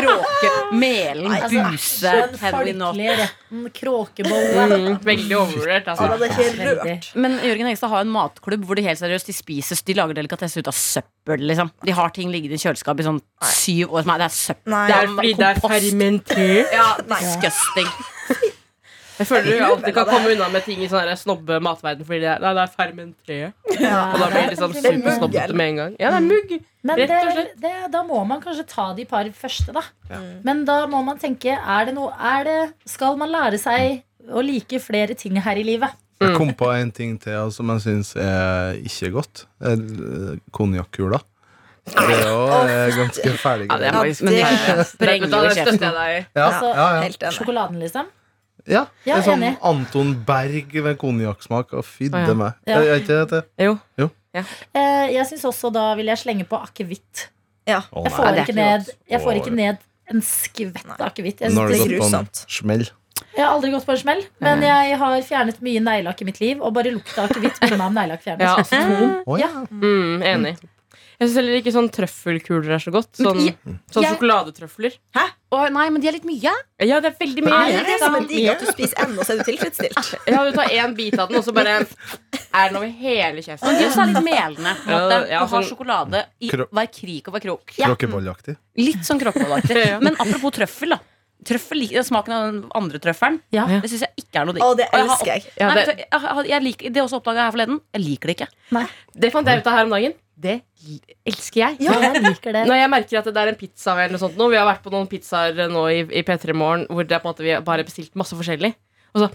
[SPEAKER 4] Kråke, melen,
[SPEAKER 2] altså,
[SPEAKER 4] buse,
[SPEAKER 2] Den
[SPEAKER 4] heavy knock.
[SPEAKER 2] folkelige retten kråkebolle.
[SPEAKER 3] Mm, Veldig overvurdert,
[SPEAKER 6] Jeg
[SPEAKER 3] altså.
[SPEAKER 6] hadde ikke rørt.
[SPEAKER 4] Men Jørgen Hegstad har en matklubb hvor de helt seriøst de spiser, de lager delikatesse ut av søppel. liksom De har ting liggende i kjøleskapet i sånn syv år. Nei, det er søppel.
[SPEAKER 6] Nei.
[SPEAKER 4] Det er
[SPEAKER 3] Fordi det er
[SPEAKER 4] kompost.
[SPEAKER 3] fermentert.
[SPEAKER 4] Ja,
[SPEAKER 6] Nei.
[SPEAKER 4] disgusting.
[SPEAKER 3] Jeg føler du alltid kan
[SPEAKER 6] det.
[SPEAKER 3] komme unna med ting i sånn der snobbe matverden fordi det er, nei, det er fermentert. Og da blir det liksom
[SPEAKER 2] Det er mugg,
[SPEAKER 3] supersnobbete med en gang. Ja, det er mugg.
[SPEAKER 2] Men
[SPEAKER 3] Rett
[SPEAKER 2] det,
[SPEAKER 3] og slett. Mm.
[SPEAKER 2] det, da må man kanskje ta de par første, da. Men da må man tenke er det noe, er det, Skal man lære seg å like flere ting her i livet?
[SPEAKER 5] Jeg kom på en ting til altså, som jeg syns er ikke godt. Eh, Konjakkula. Det er jo eh, ganske ferdig.
[SPEAKER 3] Ja, det er
[SPEAKER 6] Ja,
[SPEAKER 3] faktisk
[SPEAKER 6] det-
[SPEAKER 3] det
[SPEAKER 4] sprenger
[SPEAKER 3] Da
[SPEAKER 4] jo i
[SPEAKER 3] støtter
[SPEAKER 4] kjeften.
[SPEAKER 3] jeg deg.
[SPEAKER 5] Ja,
[SPEAKER 2] Altså,
[SPEAKER 5] ja, ja.
[SPEAKER 6] Helt enig.
[SPEAKER 2] Sjokoladen, liksom?
[SPEAKER 5] ja.
[SPEAKER 2] Ja,
[SPEAKER 5] det er sånn
[SPEAKER 2] enig.
[SPEAKER 5] Anton Berg med konjakksmak. Å,
[SPEAKER 3] Å,
[SPEAKER 5] fydde
[SPEAKER 3] ja.
[SPEAKER 5] meg.
[SPEAKER 2] Ja.
[SPEAKER 5] Er er ikke det det?
[SPEAKER 3] Jo.
[SPEAKER 2] Eh, jeg syns også da vil jeg slenge på akevitt.
[SPEAKER 6] Ja.
[SPEAKER 2] Jeg
[SPEAKER 5] Å, nei.
[SPEAKER 2] får
[SPEAKER 3] det er
[SPEAKER 2] ikke
[SPEAKER 3] ikke
[SPEAKER 2] ned,
[SPEAKER 3] godt.
[SPEAKER 2] jeg får
[SPEAKER 5] Å,
[SPEAKER 2] ikke ned en skvett akevitt. Jeg,
[SPEAKER 5] Nå har
[SPEAKER 2] synes
[SPEAKER 5] du
[SPEAKER 6] det
[SPEAKER 5] gått
[SPEAKER 6] er
[SPEAKER 5] på en
[SPEAKER 6] grusomt.
[SPEAKER 5] smell.
[SPEAKER 2] det- jeg har aldri gått på en smell, men jeg har fjernet mye neglelakk i mitt liv, og bare lukta akevitt minner meg om neglelakk fjernet.
[SPEAKER 3] Ja, aceton.
[SPEAKER 5] Å, ja.
[SPEAKER 3] Mm, enig. Jeg syns heller ikke sånn trøffelkuler er så godt. Sånn,
[SPEAKER 4] Men
[SPEAKER 3] sånn
[SPEAKER 4] jeg-
[SPEAKER 3] sjokoladetrøfler.
[SPEAKER 4] Å, nei, men de er litt mye.
[SPEAKER 3] Ja, det er veldig mye.
[SPEAKER 6] Nei, det er det som er
[SPEAKER 3] sant.
[SPEAKER 6] digg, at du spiser en, og så er du tilfredsstilt.
[SPEAKER 4] Ah,
[SPEAKER 3] Ja, du tar én bit av den, og så bare er den over hele
[SPEAKER 4] Men
[SPEAKER 3] kjeften.
[SPEAKER 4] de også er litt melende. på en måte.
[SPEAKER 3] Ja,
[SPEAKER 4] Du
[SPEAKER 3] ja,
[SPEAKER 4] har
[SPEAKER 3] sånn-
[SPEAKER 4] sjokolade i
[SPEAKER 5] Krok-
[SPEAKER 4] hver krik og hver krok.
[SPEAKER 5] Kråkebolleaktig.
[SPEAKER 4] Litt sånn kroppelaktig.
[SPEAKER 3] Ja.
[SPEAKER 4] Men apropos trøffel, da. Trøffel, lik- smaken av den andre trøffelen
[SPEAKER 2] Ja.
[SPEAKER 4] Det syns jeg ikke er noe digg.
[SPEAKER 6] Å, det
[SPEAKER 4] Og jeg har-
[SPEAKER 6] elsker jeg.
[SPEAKER 3] Ja,
[SPEAKER 4] Nei,
[SPEAKER 3] det,
[SPEAKER 4] for jeg, jeg, jeg liker, det også oppdaga jeg her forleden. Jeg liker det ikke.
[SPEAKER 3] det fant jeg ut av her om dagen. det l- elsker jeg.
[SPEAKER 2] Ja, jeg liker det.
[SPEAKER 3] Når jeg merker at det er en pizza eller noe sånt nå, Vi har vært på noen pizzaer nå i, i P3 Morgen hvor det er på en måte vi har bare bestilt masse forskjellig. Og så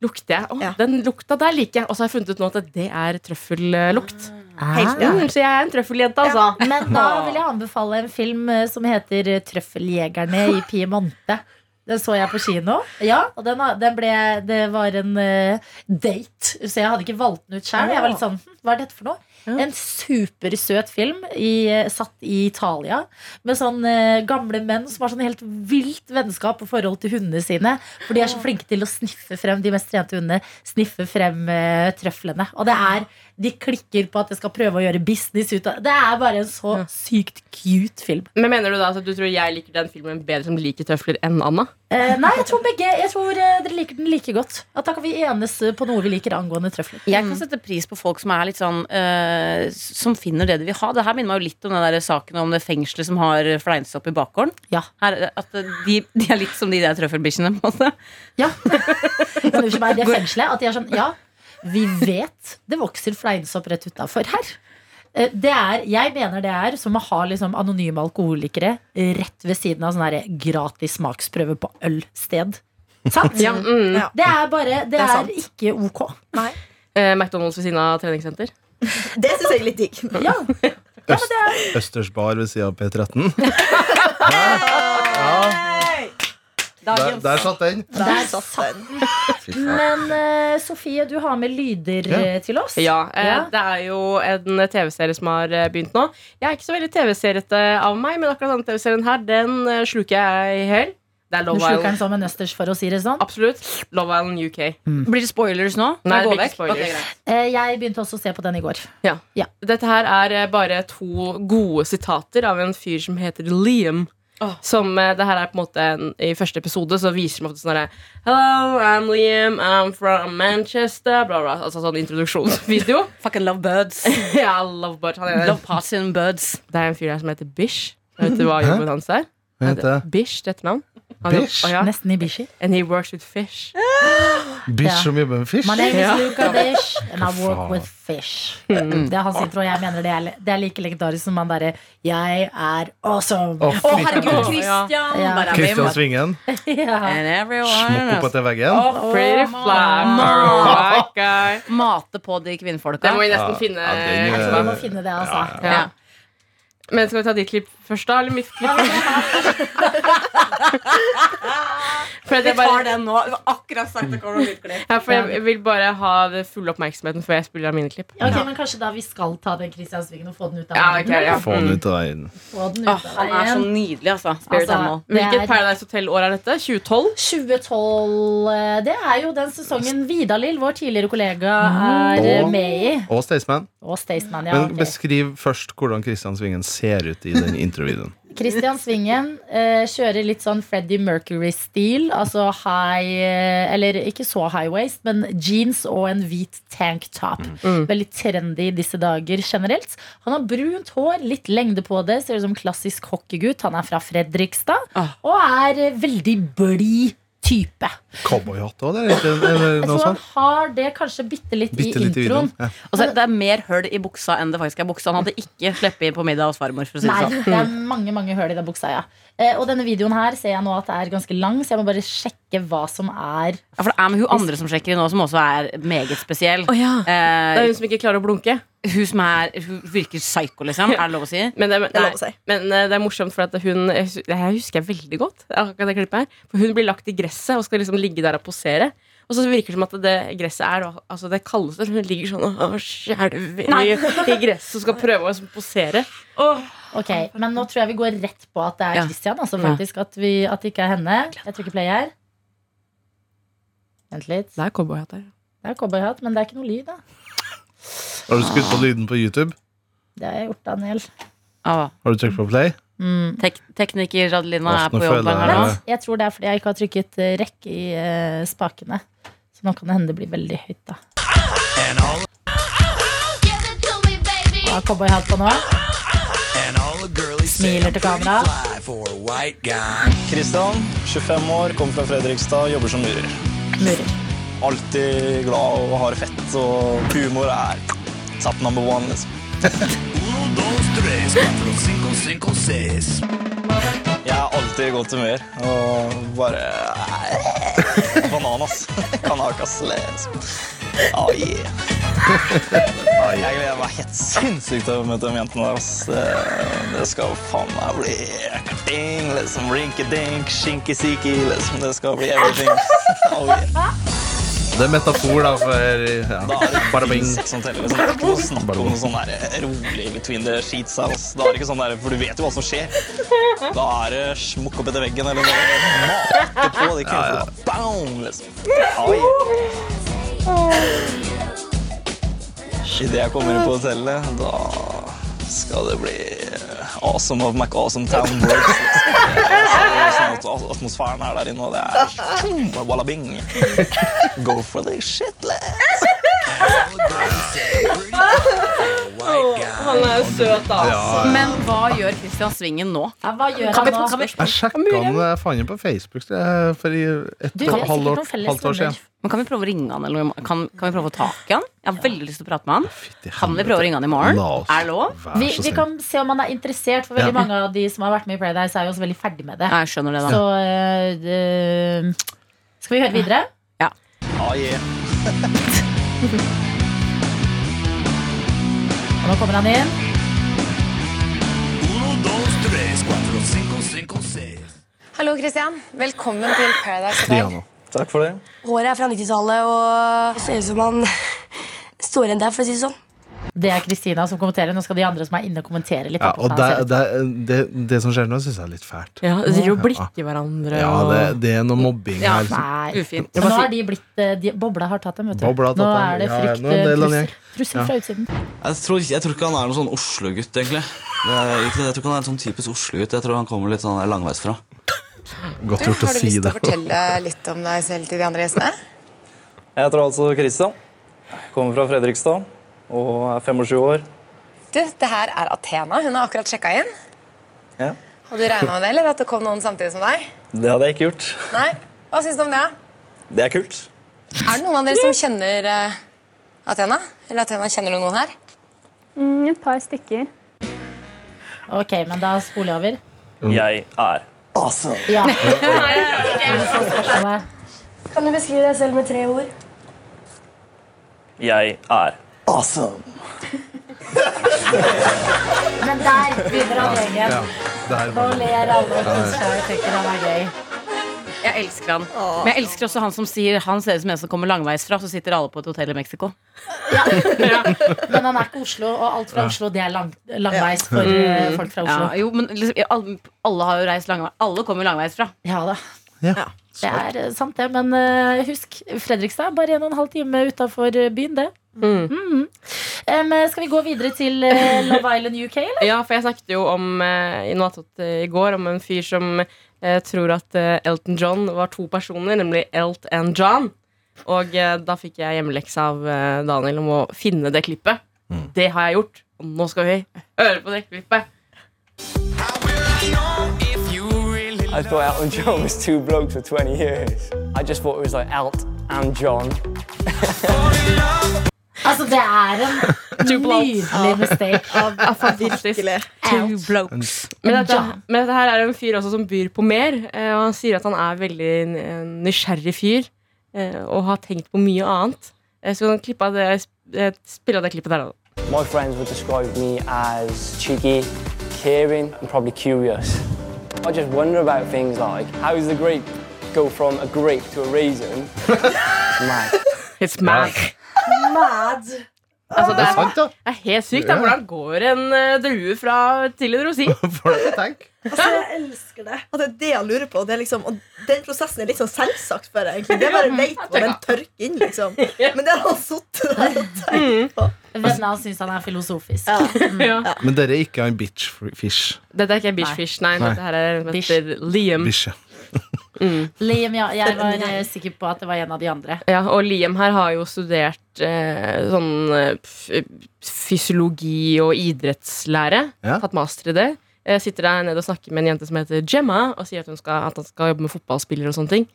[SPEAKER 3] lukter jeg. Å,
[SPEAKER 6] Ja.
[SPEAKER 3] den lukta der liker jeg. Og så har jeg funnet ut nå at det er trøffellukt.
[SPEAKER 6] Helt, ja.
[SPEAKER 4] Ah.
[SPEAKER 3] Mm, så jeg er en trøffeljente, altså.
[SPEAKER 2] Men da vil jeg anbefale en film eh, som heter eh, 'Trøffeljegerne i Piemonte'. Den så jeg på kino. Ja, og den, har- den ble, Det var en eh, date, så jeg hadde ikke valgt den ut sjøl. Jeg var litt sånn hm, Hva er dette for noe? En supersøt film i, eh, satt i Italia. Med sånn eh, gamle menn som har sånn helt vilt vennskap og forhold til hundene sine. For de er så flinke til å sniffe frem de mest trente hundene. Sniffe frem eh, trøflene. Og det er de klikker på at jeg skal prøve å gjøre business ut av Det er bare en så sykt cute film.
[SPEAKER 3] Men mener du da at du tror jeg liker den filmen bedre som liker trøfler enn Anna?
[SPEAKER 2] Eh, nei, jeg tror begge Jeg tror eh, dere liker den like godt. At da kan vi enes eh, på noe vi liker angående trøfler.
[SPEAKER 4] Jeg kan sette pris på folk som er litt sånn eh, Som finner det de vil ha. Det her minner meg jo litt om den der saken om det fengselet som har fleinsopp i bakgården.
[SPEAKER 2] Ja.
[SPEAKER 4] Her, eh, at de, de er litt som de der trøffelbikkjene. på en måte.
[SPEAKER 2] Ja. Unnskyld meg, det fengselet. At de er sånn Ja, vi vet det vokser fleinsopp rett utafor her. Eh, Det er, jeg mener det er som å ha liksom anonyme alkoholikere rett ved siden av sånn her gratis smaksprøve på øl-sted. Sant?
[SPEAKER 3] Mm.
[SPEAKER 6] Ja.
[SPEAKER 2] Det er bare Det, er,
[SPEAKER 6] er sant.
[SPEAKER 2] ikke ok.
[SPEAKER 6] Nei.
[SPEAKER 3] Eh, McDonald's ved siden av treningssenter.
[SPEAKER 6] Det syns jeg er litt digg.
[SPEAKER 2] Ja,
[SPEAKER 5] Øst, Østers bar ved sida av P13. Der, der satt den.
[SPEAKER 6] Der satt den.
[SPEAKER 2] Men eh, Sofie, du har med lyder
[SPEAKER 5] Ja.
[SPEAKER 2] eh, til oss.
[SPEAKER 3] Ja, eh,
[SPEAKER 2] Ja.
[SPEAKER 3] Det er jo en TV-serie som har eh, begynt nå. Jeg er ikke så veldig TV-seriete av meg, men akkurat denne TV-serien her, den eh, sluker jeg i hell. Det er
[SPEAKER 2] Du
[SPEAKER 3] Love
[SPEAKER 2] sluker den
[SPEAKER 3] Island.
[SPEAKER 2] som en østers, for å si det sånn.
[SPEAKER 3] Absolutt. Love Island UK.
[SPEAKER 4] Blir det spoilers nå?
[SPEAKER 3] Nei,
[SPEAKER 4] Gå
[SPEAKER 3] det blir ikke
[SPEAKER 4] vekk. Ok,
[SPEAKER 3] spoilers.
[SPEAKER 4] greit.
[SPEAKER 2] Eh, jeg begynte også å se på den i går.
[SPEAKER 3] Dette her er eh, bare to gode sitater av en fyr som heter Liam.
[SPEAKER 4] Åh.
[SPEAKER 3] Som eh, det her er på en måte en, I første episode så viser de ofte sånn herre Hello, I'm Liam, I'm from Manchester bla, bla. Altså sånn introduksjonsvideo.
[SPEAKER 4] Fucking love birds.
[SPEAKER 3] ja, love but, han er,
[SPEAKER 4] Love passing birds.
[SPEAKER 3] Det er en fyr her som heter Bish. Vet du hva jobben hans er?
[SPEAKER 5] Hva heter det?
[SPEAKER 3] Bish, det er etternavn. Han jobb-
[SPEAKER 5] Bish?
[SPEAKER 3] Å, ja.
[SPEAKER 2] Nesten i Bishi.
[SPEAKER 3] And he works with fish.
[SPEAKER 2] Ja.
[SPEAKER 5] Bish som jobber med fish.
[SPEAKER 2] My name
[SPEAKER 3] Ja.
[SPEAKER 2] is Luca Bish, and I work
[SPEAKER 5] faen?
[SPEAKER 2] with fish.
[SPEAKER 4] Mm.
[SPEAKER 2] Det er hans intro, og jeg mener det er, det er like legendarisk som han derre Jeg er awesome.
[SPEAKER 5] Å, fy
[SPEAKER 4] herregud,
[SPEAKER 5] faen.
[SPEAKER 4] Christian!
[SPEAKER 2] Ja.
[SPEAKER 4] Bare
[SPEAKER 5] Kristian
[SPEAKER 4] hvem-
[SPEAKER 5] Svingen.
[SPEAKER 2] Ja.
[SPEAKER 4] And everyone
[SPEAKER 5] Smokk
[SPEAKER 4] else.
[SPEAKER 5] opp etter veggen.
[SPEAKER 4] Å,
[SPEAKER 3] Pretty
[SPEAKER 4] ma-
[SPEAKER 3] fly for a white guy.
[SPEAKER 4] Mate på de
[SPEAKER 3] Det må
[SPEAKER 4] kvinnfolka.
[SPEAKER 3] vi nesten
[SPEAKER 5] Ja,
[SPEAKER 3] finne.
[SPEAKER 5] ja,
[SPEAKER 2] Så
[SPEAKER 5] den,
[SPEAKER 3] etterpå.
[SPEAKER 2] vi må finne det, altså.
[SPEAKER 3] ja. Men skal vi ta ditt klipp først, da? Eller mitt klipp? For at
[SPEAKER 6] Vi
[SPEAKER 3] jeg, bare,
[SPEAKER 6] tar den nå. Det var akkurat sagt det kommer nytt klipp.
[SPEAKER 3] ja, for jeg vil bare ha det fulle oppmerksomheten før jeg spiller av mine klipp.
[SPEAKER 2] Ok, Men kanskje da vi skal ta den Christian Svingen og få den ut av
[SPEAKER 3] Ja, ok,
[SPEAKER 2] verden?
[SPEAKER 3] ja.
[SPEAKER 5] Få den ut av veien.
[SPEAKER 2] Få den ut
[SPEAKER 4] Åh,
[SPEAKER 2] av
[SPEAKER 4] han er så
[SPEAKER 2] veien.
[SPEAKER 4] nydelig, altså. Spirit
[SPEAKER 2] Altså,
[SPEAKER 4] Animal.
[SPEAKER 2] det
[SPEAKER 3] Hvilket
[SPEAKER 2] er-
[SPEAKER 3] Paradise Hotel-år er dette? 2012?
[SPEAKER 2] 2012 eh, Det er jo den sesongen Vidalil, vår tidligere kollega,
[SPEAKER 4] Mm.
[SPEAKER 2] er eh,
[SPEAKER 5] Og-
[SPEAKER 2] med i.
[SPEAKER 5] Og Staysman.
[SPEAKER 2] Og Staysman, ja. ok.
[SPEAKER 5] Men beskriv først hvordan Kristian Svingen ser ut i den introvideoen.
[SPEAKER 2] Christian Svingen eh, kjører litt sånn Freddie Mercury-stil. Altså high eh, Eller ikke så high waist, men jeans og en hvit tanktop.
[SPEAKER 5] Mm.
[SPEAKER 2] Veldig trendy i disse dager generelt. Han har brunt hår, litt lengde på det, ser ut som klassisk hockeygutt. Han er fra Fredrikstad
[SPEAKER 4] Ah.
[SPEAKER 2] og er eh, veldig blid type.
[SPEAKER 5] Cowboyhatt òg, det er ikke eller
[SPEAKER 2] Jeg
[SPEAKER 5] noe
[SPEAKER 2] tror han
[SPEAKER 5] sånt?
[SPEAKER 2] har det kanskje bitte litt
[SPEAKER 5] Bitte
[SPEAKER 2] i
[SPEAKER 5] litt i videoen.
[SPEAKER 2] introen.
[SPEAKER 5] Ja.
[SPEAKER 4] Og så, altså, det er mer høl i buksa enn det faktisk er buksa. Han hadde ikke sluppet inn på middag hos farmor. For å si det
[SPEAKER 2] Nei,
[SPEAKER 4] sånn.
[SPEAKER 2] det er mange mange høl i den buksa, ja. Eh, og denne videoen her ser jeg nå at det er ganske lang, så jeg må bare sjekke hva som er
[SPEAKER 4] Ja, for det er med hun andre som sjekker inn nå, som også er meget spesiell.
[SPEAKER 3] Det er
[SPEAKER 4] Eh,
[SPEAKER 3] hun som ikke klarer å blunke.
[SPEAKER 4] hun som er, hun virker psycho, liksom. Er det lov å si?
[SPEAKER 3] Men det,
[SPEAKER 6] Det er
[SPEAKER 3] nei,
[SPEAKER 6] lov å si.
[SPEAKER 3] men eh, det er morsomt, for at hun jeg hus- Det her husker jeg veldig godt. akkurat det klippet her For Hun blir lagt i gresset og skal liksom ligge der og posere. Og så virker det som at det gresset er da- altså det kaldeste. Hun ligger sånn og og skjelver i i gresset og skal prøve å liksom posere.
[SPEAKER 2] Ok, men nå tror jeg vi går rett på at det er
[SPEAKER 4] Ja.
[SPEAKER 2] Christian. Altså
[SPEAKER 4] Ja.
[SPEAKER 2] faktisk at, vi, at det ikke er henne. Jeg trykker play her. Vent litt.
[SPEAKER 3] Det er cowboyhatt her.
[SPEAKER 2] Det er cowboyhatt, men det er ikke noe lyd, da.
[SPEAKER 5] Har du skutt på lyden på YouTube?
[SPEAKER 2] Det har jeg gjort, Daniel.
[SPEAKER 4] Ah,
[SPEAKER 5] Har du trykket på play?
[SPEAKER 2] Mm.
[SPEAKER 4] tek tekniker Adelina
[SPEAKER 5] Åh,
[SPEAKER 4] er
[SPEAKER 5] nå
[SPEAKER 4] på jobb.
[SPEAKER 5] føler jeg-
[SPEAKER 4] her nå.
[SPEAKER 2] Vent, jeg tror det er fordi jeg ikke har trykket eh, rekke i eh, spakene. Så nå kan det hende det blir veldig høyt, da. Har cowboyhatt på nå. Smiler til kamera.
[SPEAKER 8] Kristian, 25 år, kommer fra Fredrikstad, jobber som murer.
[SPEAKER 2] Murer.
[SPEAKER 8] Alltid glad og har det fett, og humor er top number one, liksom. Jeg er alltid i godt humør og bare Banan, ass. Kanakas les. Oh, yeah. Jeg gleder meg helt sinnssykt til å møte de jentene der. ass. Det, det skal faen meg bli ding, liksom rinkedink, skinkesiki, liksom. Det skal bli everything. Oh, yeah.
[SPEAKER 5] Det er metafor, da, for ja.
[SPEAKER 8] Da er det
[SPEAKER 5] Bare bing.
[SPEAKER 8] sex som teller. Liksom. Det er ikke noe snakk om noe sånn der rolig between the sheets her. Ass. Da er det ikke sånn der, for du vet jo hva som skjer. Da er det smukk opp etter veggen eller noe. Mate på. Det krever ja, Boom, liksom. Oh, yeah. Idet jeg kommer inn på hotellet, da skal det bli awesome of Mac Awesome Town Works. Liksom. Det er Sånn at atmosfæren er der inne, og det er walla bing. Go for the shit, lad.
[SPEAKER 3] Han er jo søt, da.
[SPEAKER 4] Men hva gjør Christian Svingen nå?
[SPEAKER 2] Ja, hva gjør
[SPEAKER 4] Kan vi,
[SPEAKER 2] han nå?
[SPEAKER 4] kan vi,
[SPEAKER 5] Jeg sjekka han eh, faen ikke på Facebook det er for i et
[SPEAKER 2] Du, vi har sikkert
[SPEAKER 5] halvår,
[SPEAKER 2] noen felles
[SPEAKER 5] halvt år
[SPEAKER 2] venner.
[SPEAKER 5] siden.
[SPEAKER 4] men kan vi prøve å ringe han? Eller noe? kan, kan vi prøve å få tak i han? Jeg har veldig lyst til å prate med han.
[SPEAKER 5] Fytti
[SPEAKER 4] Kan vi
[SPEAKER 5] helvete.
[SPEAKER 4] prøve å ringe han i morgen?
[SPEAKER 5] La oss.
[SPEAKER 4] Er det lov?
[SPEAKER 2] Vi,
[SPEAKER 5] Vær så
[SPEAKER 2] vi
[SPEAKER 5] snill.
[SPEAKER 2] kan se om han er interessert, for veldig
[SPEAKER 5] Ja.
[SPEAKER 2] mange av de som har vært med i Paradise, er jo også veldig ferdig med det.
[SPEAKER 4] Nei, Jeg skjønner det, da.
[SPEAKER 2] Så eh, det- skal vi høre videre?
[SPEAKER 8] Ah, yeah.
[SPEAKER 2] Og nå kommer han inn.
[SPEAKER 9] Hallo, Christian. Velkommen til Paradise Hotel.
[SPEAKER 5] Stian, da.
[SPEAKER 8] Takk for det.
[SPEAKER 9] Håret er fra 90-tallet og ser ut som han står igjen der, for å si det sånn.
[SPEAKER 2] Det er Kristina som kommenterer. Nå skal de andre som er inne, kommentere litt.
[SPEAKER 5] Ja,
[SPEAKER 2] på hvordan
[SPEAKER 5] og det,
[SPEAKER 2] han ser ut.
[SPEAKER 5] det, det, det som skjer nå, syns jeg er litt fælt.
[SPEAKER 3] Ja, De driver og blikker hverandre.
[SPEAKER 5] Ja,
[SPEAKER 3] og-
[SPEAKER 5] det, det er noe mobbing
[SPEAKER 4] Ja,
[SPEAKER 5] her.
[SPEAKER 2] Nei.
[SPEAKER 4] Ufint.
[SPEAKER 2] Men nå har de blitt eh, de, Bobla har tatt dem, vet du.
[SPEAKER 5] Bobla har tatt
[SPEAKER 2] nå
[SPEAKER 5] dem.
[SPEAKER 2] er det
[SPEAKER 5] Ja,
[SPEAKER 2] frykt
[SPEAKER 5] nå er det en eller annen
[SPEAKER 2] trussel, trussel fra utsiden.
[SPEAKER 10] Jeg tror, ikke- jeg tror ikke han er noen sånn Oslo-gutt, egentlig. Det er ikke, det. jeg tror ikke han er en sånn typisk Oslo-gutt. Jeg tror han kommer litt sånn langveisfra.
[SPEAKER 5] Godt gjort å si det.
[SPEAKER 9] fortelle litt om deg selv til de andre gjestene?
[SPEAKER 8] Jeg heter altså Kristian. Kommer fra Fredrikstad og er 25 år.
[SPEAKER 9] Du, det her er Athena. Hun har akkurat sjekka inn.
[SPEAKER 8] Ja.
[SPEAKER 9] Hadde du regna med det, eller at det kom noen samtidig som deg?
[SPEAKER 8] Det hadde jeg ikke gjort.
[SPEAKER 9] Nei? Hva syns du om det?
[SPEAKER 8] Det er kult.
[SPEAKER 9] Er det noen av dere som kjenner eh, Athena? Eller Athena, kjenner du noen her?
[SPEAKER 11] Et par stykker.
[SPEAKER 2] Ok, men da spoler jeg over.
[SPEAKER 8] Jeg er awesome.
[SPEAKER 2] Ja. Er det så spørsmålet?
[SPEAKER 9] Kan du beskrive deg selv med tre ord?
[SPEAKER 8] Jeg er awesome.
[SPEAKER 2] Men der begynner han gjengen.
[SPEAKER 5] Der
[SPEAKER 2] Nå
[SPEAKER 5] var det.
[SPEAKER 2] ler alle og koser seg og tenker han er gøy.
[SPEAKER 4] Jeg elsker han. Men jeg elsker også han som sier han ser ut som en som kommer langveisfra, så sitter alle på et hotell i Mexico.
[SPEAKER 2] Men han er ikke Oslo, og alt fra Oslo det er lang, langveis for eh, folk fra
[SPEAKER 4] Ja,
[SPEAKER 2] Oslo.
[SPEAKER 4] jo, men liksom, alle- alle har jo reist langveis. Alle kommer jo langveisfra.
[SPEAKER 2] Ja da.
[SPEAKER 5] Ja.
[SPEAKER 2] Det er eh, sant, det. Men eh, husk, Fredrikstad er bare en og en halv time utafor byen, det.
[SPEAKER 3] Mm.
[SPEAKER 2] Mhm. Em, eh, skal vi gå videre til eh, Love Island UK, eller?
[SPEAKER 3] Ja, for jeg snakket jo om eh, i Noatot eh, i går om en fyr som eh, tror at eh, Elton John var to personer, nemlig Elt and John. Og eh, da fikk jeg hjemmelekse av eh, Daniel om å finne det klippet. Det har jeg gjort, og nå skal vi høre på det klippet.
[SPEAKER 8] I thought Elton John was two blokes for 20 years. I just thought it was like Alt and John.
[SPEAKER 2] Altså, det er en nydelig mistake av
[SPEAKER 3] Faktisk.
[SPEAKER 6] Virkelig.
[SPEAKER 2] Al.
[SPEAKER 3] Men dette,
[SPEAKER 2] John.
[SPEAKER 3] men dette her er en fyr også som byr på mer, eh, og han sier at han er veldig n- en nysgjerrig fyr eh, og har tenkt på mye annet. Eh, Så kan du klippe av det, eh, spille av det klippet der, da.
[SPEAKER 8] My friends would describe me as cheeky, caring, and probably curious. I just wonder about things like how does the grape go from a grape to a raisin? Mad.
[SPEAKER 3] It's mad. Altså, det,
[SPEAKER 5] Det er
[SPEAKER 3] er,
[SPEAKER 5] sant, da.
[SPEAKER 3] det er helt sykt. da. Hvordan går en eh, drue fra til en rosin?
[SPEAKER 5] For det er tenk.
[SPEAKER 6] Og det er det jeg lurer på. Det er liksom, og den prosessen er litt sånn selvsagt for deg. egentlig. Det er bare leit og den tørker inn, liksom. Men det har han sittet der og tenkt på.
[SPEAKER 2] Vennene hans syns han er filosofisk.
[SPEAKER 5] Men dere er ikke en bitchfish.
[SPEAKER 3] Dette er ikke Bishfish, nei.
[SPEAKER 5] Nei.
[SPEAKER 3] Dette her er en som
[SPEAKER 2] Bish.
[SPEAKER 3] heter Liam.
[SPEAKER 5] Bikkje.
[SPEAKER 2] Liam, ja, jeg var eh, sikker på at det var en av de andre.
[SPEAKER 3] Ja, og Liam her har jo studert eh, sånn eh, f- fysiologi og idrettslære.
[SPEAKER 5] Ja.
[SPEAKER 3] Tatt master i det. Eh, sitter der nede og snakker med en jente som heter Gemma, og sier at, hun skal, at han skal jobbe med fotballspillere og sånne ting.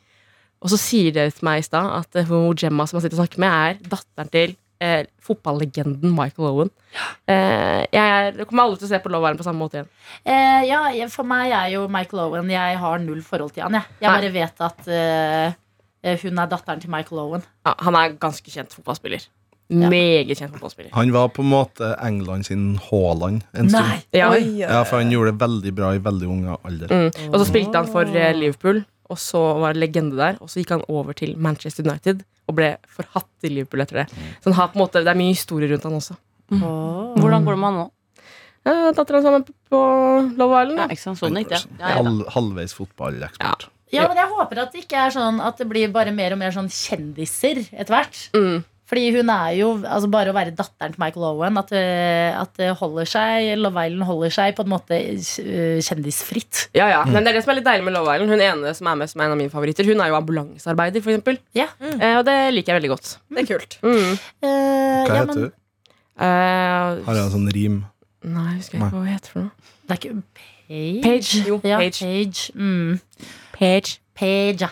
[SPEAKER 3] Og så sier dere til meg i stad at eh, hun Gemma som han sitter og snakker med, er datteren til eh, fotballegenden Michael Owen. Eh, jeg, er- kommer alle til å se på Love Island på samme måte igjen.
[SPEAKER 2] Eh, ja, jeg- for meg er jo Michael Owen Jeg har null forhold til han. Jeg, jeg
[SPEAKER 3] Nei.
[SPEAKER 2] bare vet at eh, eh, hun er datteren til Michael Owen.
[SPEAKER 3] Ja, han er ganske kjent fotballspiller. Meget kjent fotballspiller.
[SPEAKER 5] Han var på en måte England sin Haaland en stund.
[SPEAKER 3] Nei. Ja. Oi.
[SPEAKER 5] Ja, for han gjorde det veldig bra i veldig ung alder.
[SPEAKER 3] Mm. Og så spilte han for eh, Liverpool, og så var det legende der. Og så gikk han over til Manchester United og ble forhatt i Liverpool etter det.
[SPEAKER 5] Mm.
[SPEAKER 3] Så han har på en måte, det er mye historie rundt han også.
[SPEAKER 4] Hvordan går det med han nå?
[SPEAKER 3] Eh, Datteren sammen på Love Island.
[SPEAKER 4] Ja, ikke sant? Sånn gikk det. Ja, ja, da.
[SPEAKER 5] Halv, halvveis fotballekspert.
[SPEAKER 2] Ja, men jeg håper at det ikke er sånn at det blir bare mer og mer sånn kjendiser etter hvert.
[SPEAKER 3] Mm.
[SPEAKER 2] Fordi hun er jo, altså Bare å være datteren til Michael Owen, at, eh, at det holder seg, Love Island holder seg på en måte eh, kjendisfritt.
[SPEAKER 3] Ja, ja.
[SPEAKER 5] Mm.
[SPEAKER 3] Men det er det som er litt deilig med Love Island. Hun ene som er med, som er en av mine favoritter, hun er jo ambulansearbeider, for eksempel. Eh, og det liker jeg veldig godt.
[SPEAKER 6] Det er kult.
[SPEAKER 3] Mm.
[SPEAKER 2] Eh,
[SPEAKER 5] Hva heter du?
[SPEAKER 3] Eh,
[SPEAKER 5] Har jeg en sånn rim?
[SPEAKER 3] nei, jeg husker
[SPEAKER 5] Nei.
[SPEAKER 3] ikke hva hun heter for noe.
[SPEAKER 2] Det er ikke Page?
[SPEAKER 3] Page. Jo,
[SPEAKER 2] ja,
[SPEAKER 3] Page.
[SPEAKER 2] Page. Mm.
[SPEAKER 3] Page.
[SPEAKER 2] Page, ja.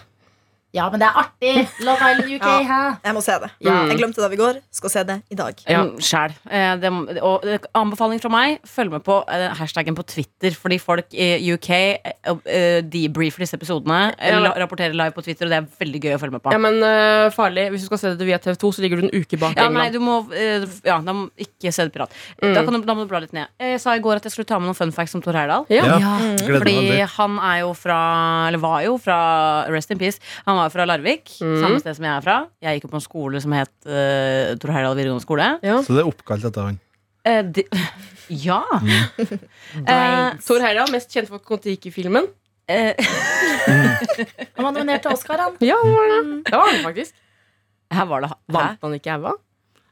[SPEAKER 2] Ja, men det er artig! Love Island UK,
[SPEAKER 6] Ja.
[SPEAKER 2] hæ?
[SPEAKER 6] Jeg må se det.
[SPEAKER 4] Ja.
[SPEAKER 6] Jeg glemte det av i går. Skal se det i dag.
[SPEAKER 4] Ja, sjæl. Eh, det- Og eh, anbefaling fra meg, følg med på eh, hashtaggen på Twitter, fordi folk i UK eh, eh, debriefer disse episodene, eh,
[SPEAKER 3] Ja.
[SPEAKER 4] la- rapporterer live på Twitter, og det er veldig gøy å følge med på.
[SPEAKER 3] Ja, men eh, farlig. Hvis du skal se det via TV2, så ligger du en uke bak
[SPEAKER 4] Ja, nei,
[SPEAKER 3] England.
[SPEAKER 4] du må eh, f- Ja, da må ikke se det pirat. Eh,
[SPEAKER 3] Mm.
[SPEAKER 4] Da, kan du, da må du bla litt ned. Eh, Jeg sa i går at jeg skulle ta med noen fun facts om Tor Heyerdahl.
[SPEAKER 5] Ja. Ja. Mm. Gleder meg
[SPEAKER 4] Fordi
[SPEAKER 5] veldig.
[SPEAKER 4] han er jo fra Eller var jo fra Rest in Peace. Han var jo fra Larvik,
[SPEAKER 3] Mm.
[SPEAKER 4] samme sted som jeg er fra. Jeg gikk jo på en skole som het eh, Tor Heyerdahl videregående skole.
[SPEAKER 5] Så det er oppkalt etter han.
[SPEAKER 4] Eh, de, ja. Mm.
[SPEAKER 3] Eh, Thor Heyerdahl, mest kjent for Kon-Tiki-filmen.
[SPEAKER 4] Eh,
[SPEAKER 2] Han var nominert til Oscar, han.
[SPEAKER 3] Ja, det var Mm. det. Det var han faktisk.
[SPEAKER 4] Her var det
[SPEAKER 3] Vant han ikke Eva?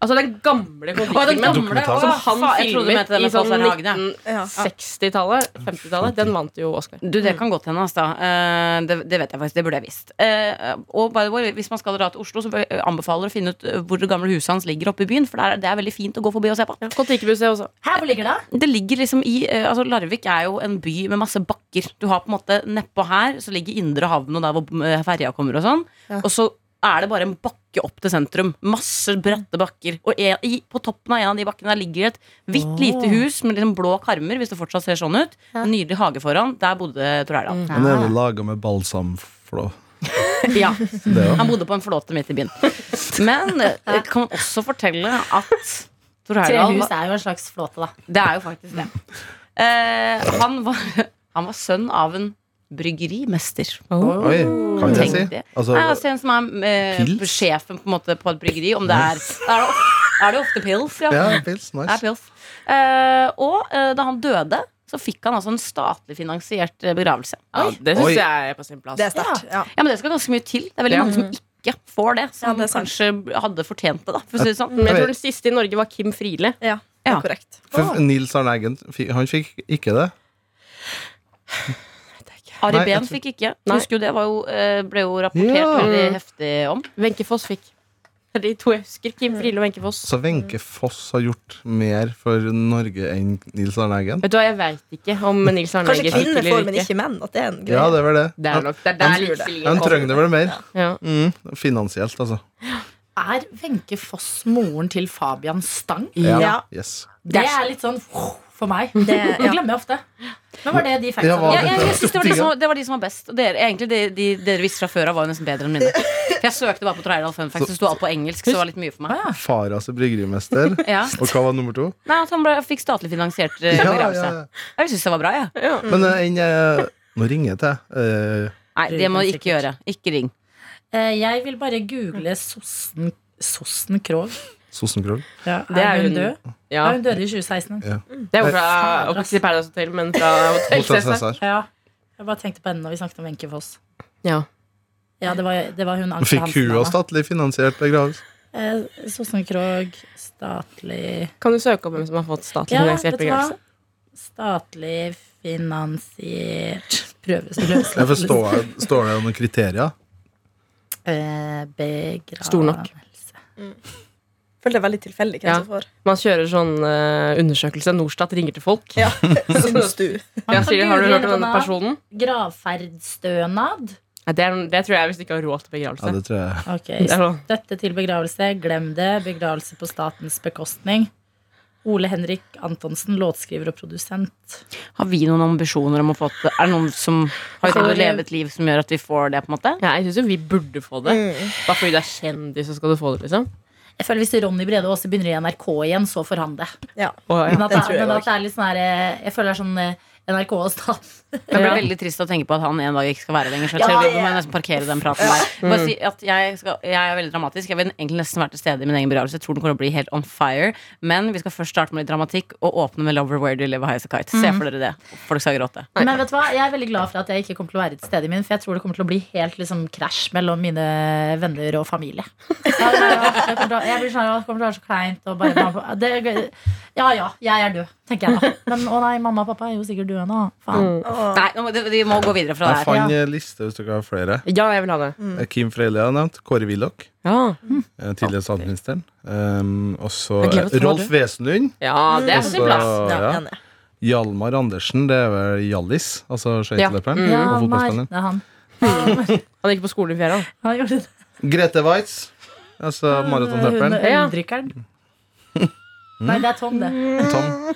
[SPEAKER 3] Altså den gamle
[SPEAKER 4] Å, den gamle,
[SPEAKER 3] Kon-Tiki-filmen
[SPEAKER 4] Dokumentaren.
[SPEAKER 3] som
[SPEAKER 4] å,
[SPEAKER 3] han
[SPEAKER 4] faen, jeg trodde du
[SPEAKER 3] filmet
[SPEAKER 4] mente den
[SPEAKER 3] i
[SPEAKER 4] med Pål
[SPEAKER 3] sånn
[SPEAKER 4] Serhagen, ja.
[SPEAKER 3] 1960-tallet, 50-tallet, den vant jo Oscar.
[SPEAKER 4] Du, Det kan godt hende. ass, da. Eh, det, det vet jeg faktisk. Det burde jeg visst. Eh, og by the way, hvis man skal dra til Oslo, så bør- anbefaler jeg å finne ut eh, hvor det gamle huset hans ligger oppe i byen. For det er, det er veldig fint å gå forbi og se på.
[SPEAKER 3] Kon-Tiki-museet også.
[SPEAKER 2] Her, hvor ligger det?
[SPEAKER 4] Det ligger liksom i eh, altså Larvik er jo en by med masse bakker. Du har på en måte Nedpå her så ligger Indre Havn og der hvor eh, ferja kommer og sånn. Og så er det bare en bakke opp til sentrum. Masse bratte bakker. Og en, i, på toppen av en av de bakkene der ligger et hvitt lite hus med liksom blå karmer, hvis det fortsatt ser sånn ut. En nydelig hage foran. Der bodde Tor Heyerdahl.
[SPEAKER 5] Han er jo laga med balsamflå.
[SPEAKER 4] Ja.
[SPEAKER 5] Det òg.
[SPEAKER 4] Han bodde på en flåte midt i byen. Men jeg kan også fortelle at Tor Heyerdahl
[SPEAKER 2] Trehus er jo en slags flåte, da.
[SPEAKER 4] Det er jo faktisk det. Eh, han, var, han var sønn av en bryggerimester.
[SPEAKER 6] Oh.
[SPEAKER 5] Oi, kan jeg si?
[SPEAKER 4] Tenk det.
[SPEAKER 5] Altså,
[SPEAKER 4] Nei, altså en som er eh,
[SPEAKER 5] Pils?
[SPEAKER 4] sjefen på, en måte, på et bryggeri. Om det er, da er, det ofte, er det ofte pils, ja.
[SPEAKER 5] ja, pils,
[SPEAKER 4] Det er
[SPEAKER 5] nice.
[SPEAKER 4] pils. Eh, og eh, da han døde, så fikk han altså en statlig finansiert eh, begravelse.
[SPEAKER 3] Ja, det
[SPEAKER 5] Oi.
[SPEAKER 3] syns jeg er på sin plass.
[SPEAKER 6] Det er sterkt. Ja.
[SPEAKER 4] Ja, men det skal ganske mye til. Det er veldig
[SPEAKER 3] Ja.
[SPEAKER 4] mange som ikke får det, som
[SPEAKER 6] Mm-hmm. Ja, det er sant. Mm.
[SPEAKER 4] kanskje hadde fortjent det, da, for å si det sånn.
[SPEAKER 3] Men jeg tror den siste i Norge var Kim Friele.
[SPEAKER 6] Ja, det
[SPEAKER 4] Ja.
[SPEAKER 6] er korrekt.
[SPEAKER 5] For Nils Arne Eggen fikk- han fikk ikke det.
[SPEAKER 4] Ari
[SPEAKER 5] Nei, jeg
[SPEAKER 4] Behn
[SPEAKER 5] tror-
[SPEAKER 4] fikk ikke.
[SPEAKER 3] Nei.
[SPEAKER 4] Husker jo det var jo, eh, ble jo rapportert
[SPEAKER 5] Ja.
[SPEAKER 4] veldig heftig om.
[SPEAKER 3] Wenche Foss fikk. Det er de to jeg husker. Kim Friele og Wenche Foss.
[SPEAKER 5] Så
[SPEAKER 4] Mm.
[SPEAKER 5] Wenche Foss har gjort mer for Norge enn Nils Arne Eggen?
[SPEAKER 3] Vet du hva, jeg veit ikke om Nils Arne
[SPEAKER 6] Kanskje
[SPEAKER 3] Eggen
[SPEAKER 6] kvinner
[SPEAKER 3] eller
[SPEAKER 6] får, men ikke menn. At det er en greie.
[SPEAKER 5] Ja, det var det.
[SPEAKER 3] Det er nok det er der likestillingen
[SPEAKER 5] Han trenger det vel mer.
[SPEAKER 3] Ja.
[SPEAKER 5] Mm, finansielt, altså.
[SPEAKER 2] Er Wenche Foss moren til Fabian Stang?
[SPEAKER 6] Ja.
[SPEAKER 5] Yes.
[SPEAKER 2] Det er litt sånn for meg. Det,
[SPEAKER 6] Det- ja.
[SPEAKER 2] glemmer jeg ofte. Men var det de
[SPEAKER 5] Ja,
[SPEAKER 2] factsa?
[SPEAKER 5] hva-
[SPEAKER 4] Ja, jeg, jeg synes det, var de som, det var de som var best. Og dere, egentlig, de, de, dere visste fra før av, var jo nesten bedre enn mine. For jeg søkte bare på Treierdal Fun Facts, det sto alt på engelsk, så det var litt mye for meg.
[SPEAKER 5] Faras er bryggerimester.
[SPEAKER 4] Ja.
[SPEAKER 5] Og hva var nummer to?
[SPEAKER 4] Nei, at han ble, fikk statlig finansiert eh,
[SPEAKER 5] Ja, ja,
[SPEAKER 4] begravelse.
[SPEAKER 3] altså.
[SPEAKER 5] ja.
[SPEAKER 4] Jeg syns det var bra, jeg. Ja.
[SPEAKER 5] Men eh, en eh, Nå ringer jeg til. eh,
[SPEAKER 4] Nei, det må du ikke gjøre. Ikke ring.
[SPEAKER 2] Eh, Jeg vil bare google Sossen, sossen Krog.
[SPEAKER 5] Sossenkrog.
[SPEAKER 3] Det er
[SPEAKER 2] er hun
[SPEAKER 3] hun.
[SPEAKER 2] død?
[SPEAKER 3] Ja.
[SPEAKER 2] Ja, hun døde i 2016.
[SPEAKER 3] Det er
[SPEAKER 4] Eh,
[SPEAKER 3] jo fra
[SPEAKER 2] Fader,
[SPEAKER 3] og
[SPEAKER 2] ass.
[SPEAKER 3] ikke Paradise Hotel, men fra Hotel
[SPEAKER 5] Hotell
[SPEAKER 3] Cæsar.
[SPEAKER 5] Cæsar.
[SPEAKER 2] Ja. Jeg bare tenkte på henne når vi snakket om Wenche Foss.
[SPEAKER 3] Ja.
[SPEAKER 2] Ja, det var, det var hun Aksel
[SPEAKER 5] Fikk
[SPEAKER 2] Hansen,
[SPEAKER 5] hun
[SPEAKER 2] Anna.
[SPEAKER 5] og statlig finansiert begravelse?
[SPEAKER 2] Eh, Sossen Krog, statlig
[SPEAKER 3] Kan du søke opp hvem som har fått statlig
[SPEAKER 2] Ja, vet
[SPEAKER 3] finansiert
[SPEAKER 2] du hva?
[SPEAKER 3] begravelse?
[SPEAKER 2] Statlig finansiert prøves
[SPEAKER 5] Jeg forstår, står det noen kriterier?
[SPEAKER 2] Eh, Begravelse
[SPEAKER 3] Stor nok.
[SPEAKER 6] Føler det er veldig tilfeldig hvem
[SPEAKER 3] Ja.
[SPEAKER 6] som får.
[SPEAKER 3] Man kjører sånn eh, undersøkelse. Norstat ringer til folk.
[SPEAKER 6] Ja. Syns du?
[SPEAKER 3] Jeg sier, har du hørt om denne
[SPEAKER 2] Google
[SPEAKER 3] personen?
[SPEAKER 2] Gravferdsstønad.
[SPEAKER 3] Nei, det, er, det tror jeg hvis du ikke har råd til begravelse.
[SPEAKER 5] Ja, det tror jeg.
[SPEAKER 2] Ok,
[SPEAKER 3] Det er sånn.
[SPEAKER 2] Støtte til begravelse, glem det. Begravelse på statens bekostning. Ole Henrik Antonsen, låtskriver og produsent.
[SPEAKER 4] Har vi noen ambisjoner om å få til Er det noen som har altså,
[SPEAKER 3] Altså, det-
[SPEAKER 4] leve et liv som gjør at vi får det, på en måte? Mm.
[SPEAKER 3] Ja, jeg syns jo vi burde få det. Bare fordi du er kjendis, så skal du få det, liksom.
[SPEAKER 2] Jeg føler Hvis Ronny Brede Aase begynner i NRK igjen, så får han det.
[SPEAKER 3] Og,
[SPEAKER 2] Men at det,
[SPEAKER 3] ja.
[SPEAKER 2] er- men at det er litt sånn her eh, Jeg føler det er sånn eh, NRK og staten.
[SPEAKER 4] Det blir veldig trist å tenke på at han en dag ikke skal være lenger. Så jeg
[SPEAKER 2] Ja,
[SPEAKER 4] tror vi
[SPEAKER 2] ja.
[SPEAKER 4] må nesten parkere den praten der.
[SPEAKER 2] Mm.
[SPEAKER 4] Bare si at jeg, skal, jeg er veldig dramatisk. Jeg vil egentlig nesten være til stede i min egen begravelse. Jeg tror den kommer til å bli helt on fire. Men vi skal først starte med litt dramatikk og åpne med Lover Where Do You Live High As A Kite. Se
[SPEAKER 2] Mhm.
[SPEAKER 4] for dere det. Folk skal gråte.
[SPEAKER 2] Men vet du hva, jeg er veldig glad for at jeg ikke kommer til å være til stede i min, for jeg tror det kommer til å bli helt liksom krasj mellom mine venner og familie. Jeg kommer til å- jeg blir sånn, «Å, det kommer til å være så kleint og bare mamma, det, Ja ja, jeg er død, tenker jeg da. Men å nei, mamma og pappa er jo sikkert døde nå. Faen.
[SPEAKER 4] Nei, nå må, vi må gå videre fra
[SPEAKER 5] Jeg
[SPEAKER 4] det
[SPEAKER 5] fant
[SPEAKER 4] her.
[SPEAKER 5] eh, liste hvis dere har flere.
[SPEAKER 3] ja, jeg vil ha det.
[SPEAKER 4] Mm.
[SPEAKER 5] Eh, Kim Freile har jeg nevnt. Kåre Willoch.
[SPEAKER 3] Ja.
[SPEAKER 5] eh, Tidligere statsministeren. Um, og så
[SPEAKER 3] Jeg glemmer
[SPEAKER 5] eh,
[SPEAKER 3] å ta
[SPEAKER 5] Rolf
[SPEAKER 3] det.
[SPEAKER 5] Wesenlund.
[SPEAKER 3] Ja, det er på sin
[SPEAKER 5] Også-
[SPEAKER 3] plass.
[SPEAKER 5] ja.
[SPEAKER 6] enig.
[SPEAKER 5] Hjalmar Andersen, det er vel Hjallis? Altså skøyteløperen
[SPEAKER 3] Ja.
[SPEAKER 2] Ja, Mm.
[SPEAKER 5] og
[SPEAKER 2] Mar,
[SPEAKER 5] fotballspilleren.
[SPEAKER 2] det er han.
[SPEAKER 3] Han gikk på skolen i fjerde. han.
[SPEAKER 2] Han gjorde det.
[SPEAKER 5] Grete Waitz, altså
[SPEAKER 2] Hun
[SPEAKER 5] maratonløperen.
[SPEAKER 3] Ja.
[SPEAKER 2] øldrikkeren. Nei, det er Tom, det.
[SPEAKER 5] Tom.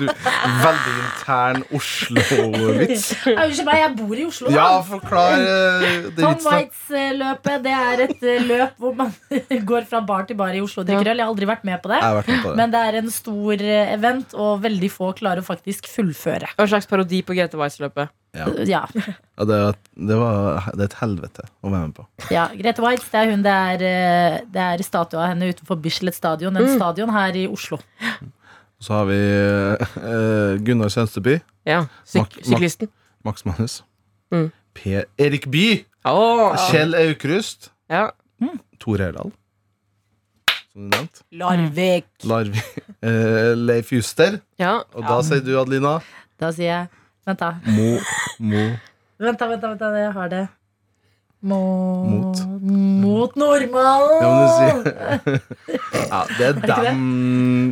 [SPEAKER 5] Du, veldig intern Oslo-vits.
[SPEAKER 2] Ja, Unnskyld meg, jeg bor i Oslo. da.
[SPEAKER 5] Ja, forklar eh, det
[SPEAKER 2] Tom
[SPEAKER 5] vitsen.
[SPEAKER 2] Waits-løpet det er et eh, løp hvor man går fra bar til bar i Oslo og drikker øl. Jeg har aldri vært med på det.
[SPEAKER 5] Jeg har vært med på det.
[SPEAKER 2] Men det er en stor eh, event, og veldig få klarer å faktisk fullføre.
[SPEAKER 3] Og En slags parodi på Grete Weiss-løpet.
[SPEAKER 2] Ja,
[SPEAKER 5] Ja, det, var- det, var, det er et helvete å være med på.
[SPEAKER 2] ja. Grete Waitz, det er hun det er, eh, det er statue av henne utenfor Bislett stadion. En stadion her i Oslo.
[SPEAKER 5] Så har vi eh, Gunnar Sønsteby,
[SPEAKER 3] Ja,
[SPEAKER 5] Mak-
[SPEAKER 3] Syk
[SPEAKER 5] mak-
[SPEAKER 3] Syklisten.
[SPEAKER 5] Max Manus,
[SPEAKER 3] Mm.
[SPEAKER 5] Per Erik Bye,
[SPEAKER 3] Åh.
[SPEAKER 5] Kjell Aukrust,
[SPEAKER 3] Ja.
[SPEAKER 5] Tore Heyerdahl, som du nevnte,
[SPEAKER 4] Larvik.
[SPEAKER 5] Larvi, eh, Leif Juster,
[SPEAKER 3] ja.
[SPEAKER 5] og da sier du, Adelina,
[SPEAKER 2] Da sier jeg Vent, da.
[SPEAKER 5] Mo, Mo,
[SPEAKER 2] Vent, da, vent, da, vent da jeg har det.
[SPEAKER 5] Mot.
[SPEAKER 2] Mot Mot
[SPEAKER 5] det må du
[SPEAKER 2] normalen!
[SPEAKER 5] si. ja, det er dem,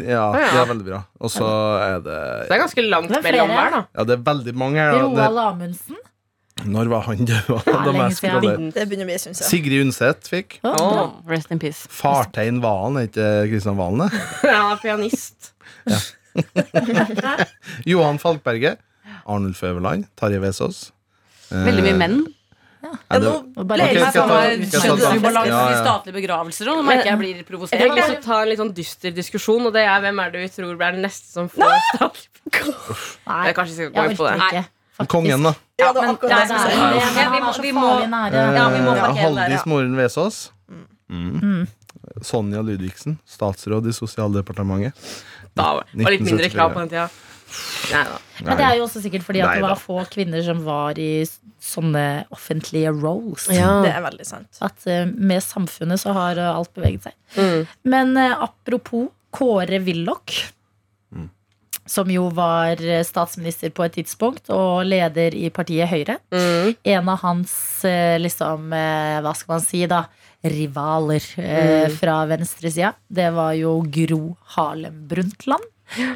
[SPEAKER 5] ja, det er veldig bra. Og så er det,
[SPEAKER 3] Det er ganske langt
[SPEAKER 2] Det er flere.
[SPEAKER 3] mellom hver, da.
[SPEAKER 5] ja, det er veldig mange her. da.
[SPEAKER 2] Roald Amundsen.
[SPEAKER 5] Det, når var han død? Da må
[SPEAKER 2] lenge siden.
[SPEAKER 5] jeg scrolle.
[SPEAKER 6] Det begynner å bli, syns jeg.
[SPEAKER 5] Sigrid Undset fikk.
[SPEAKER 2] Å,
[SPEAKER 3] Åh.
[SPEAKER 4] Rest in peace.
[SPEAKER 5] Fartein Valen, er ikke Kristian Valen det?
[SPEAKER 3] Ja, han er pianist.
[SPEAKER 5] Johan Falkberget, Arnulf Øverland, Tarjei Vesaas. Eh,
[SPEAKER 4] Veldig mye menn.
[SPEAKER 5] Ja, det,
[SPEAKER 2] og
[SPEAKER 5] Ok,
[SPEAKER 2] bare-
[SPEAKER 5] skal
[SPEAKER 6] sånn-
[SPEAKER 5] jeg ta- skal jeg ta-
[SPEAKER 4] Ubalanse
[SPEAKER 5] Ja,
[SPEAKER 4] i
[SPEAKER 5] ja.
[SPEAKER 4] statlige begravelser. og Nå merker jeg jeg blir
[SPEAKER 3] Jeg tenkte
[SPEAKER 4] provosert.
[SPEAKER 3] også å ta en litt sånn dyster diskusjon, og det er hvem er det vi tror er den neste som får statlig
[SPEAKER 2] Nei,
[SPEAKER 3] Jeg kanskje skal gå
[SPEAKER 2] jeg
[SPEAKER 3] inn på
[SPEAKER 2] orker
[SPEAKER 3] det.
[SPEAKER 2] ikke. faktisk.
[SPEAKER 5] kongen, da.
[SPEAKER 6] Ja, det var
[SPEAKER 4] men-
[SPEAKER 6] akkurat
[SPEAKER 4] Nei,
[SPEAKER 6] det jeg skulle
[SPEAKER 2] Nei,
[SPEAKER 6] si.
[SPEAKER 4] nei.
[SPEAKER 2] men
[SPEAKER 4] Ja, vi
[SPEAKER 2] han
[SPEAKER 4] må-
[SPEAKER 2] er så
[SPEAKER 4] vi må-
[SPEAKER 2] farlig nære.
[SPEAKER 5] Eh,
[SPEAKER 4] Ja, vi må markere der,
[SPEAKER 5] Haldis
[SPEAKER 4] ja.
[SPEAKER 5] Moren Vesaas. Mm. Sonja Ludvigsen, statsråd i Sosialdepartementet.
[SPEAKER 3] Da var det var litt mindre krav på den tida. Nei da.
[SPEAKER 2] Men det er jo også sikkert fordi at det
[SPEAKER 5] Nei
[SPEAKER 2] var
[SPEAKER 5] da.
[SPEAKER 2] få kvinner som var i s- sånne offentlige roles.
[SPEAKER 6] Det er veldig sant.
[SPEAKER 2] At eh, med samfunnet så har eh, alt beveget seg. Men eh, apropos Kåre Willoch. Som jo var eh, statsminister på et tidspunkt og leder i partiet Høyre. En av hans eh, liksom, eh, hva skal man si da, rivaler eh, fra venstresida, det var jo Gro Harlem Brundtland.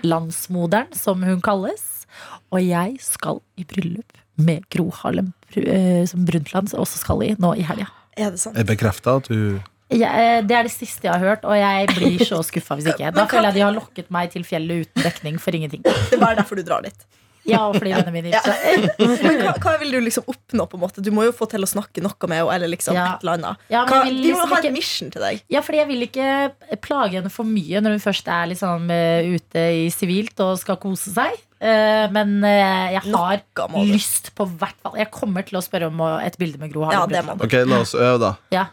[SPEAKER 2] Landsmoderen, som hun kalles. Og jeg skal i bryllup med Gro Harlem Bru- eh, som Brundtland også skal i nå i helga.
[SPEAKER 6] Er det sant?
[SPEAKER 5] Er bekrefta at du
[SPEAKER 2] Jeg, eh, det er det siste jeg har hørt, og jeg blir så skuffa hvis ikke. Da
[SPEAKER 6] Men kan-
[SPEAKER 2] føler jeg de har lokket meg til fjellet uten dekning for ingenting.
[SPEAKER 6] Det er bare derfor du drar litt.
[SPEAKER 2] Ja, og fordi vennene mine
[SPEAKER 6] Ja.
[SPEAKER 2] gifter seg.
[SPEAKER 6] Men hva, hva vil du liksom oppnå? på en måte? Du må jo få til å snakke noe med henne. eller liksom
[SPEAKER 2] Ja.
[SPEAKER 6] et eller annet.
[SPEAKER 2] Ja, men
[SPEAKER 6] Hva,
[SPEAKER 2] vil
[SPEAKER 6] vi må
[SPEAKER 2] liksom
[SPEAKER 6] ha
[SPEAKER 2] ikke-
[SPEAKER 6] en mission til deg.
[SPEAKER 2] Ja, fordi jeg vil ikke plage henne for mye når hun først er liksom eh, ute i sivilt og skal kose seg. Eh, Men eh, jeg har
[SPEAKER 6] Noe må du.
[SPEAKER 2] lyst på hvert fall Jeg kommer til å spørre om eh, et bilde med Gro
[SPEAKER 6] Ja,
[SPEAKER 2] Harlem
[SPEAKER 6] det Mm. må
[SPEAKER 2] Brundtland.
[SPEAKER 6] du.
[SPEAKER 5] Ok, la oss øve, da.
[SPEAKER 2] Ja.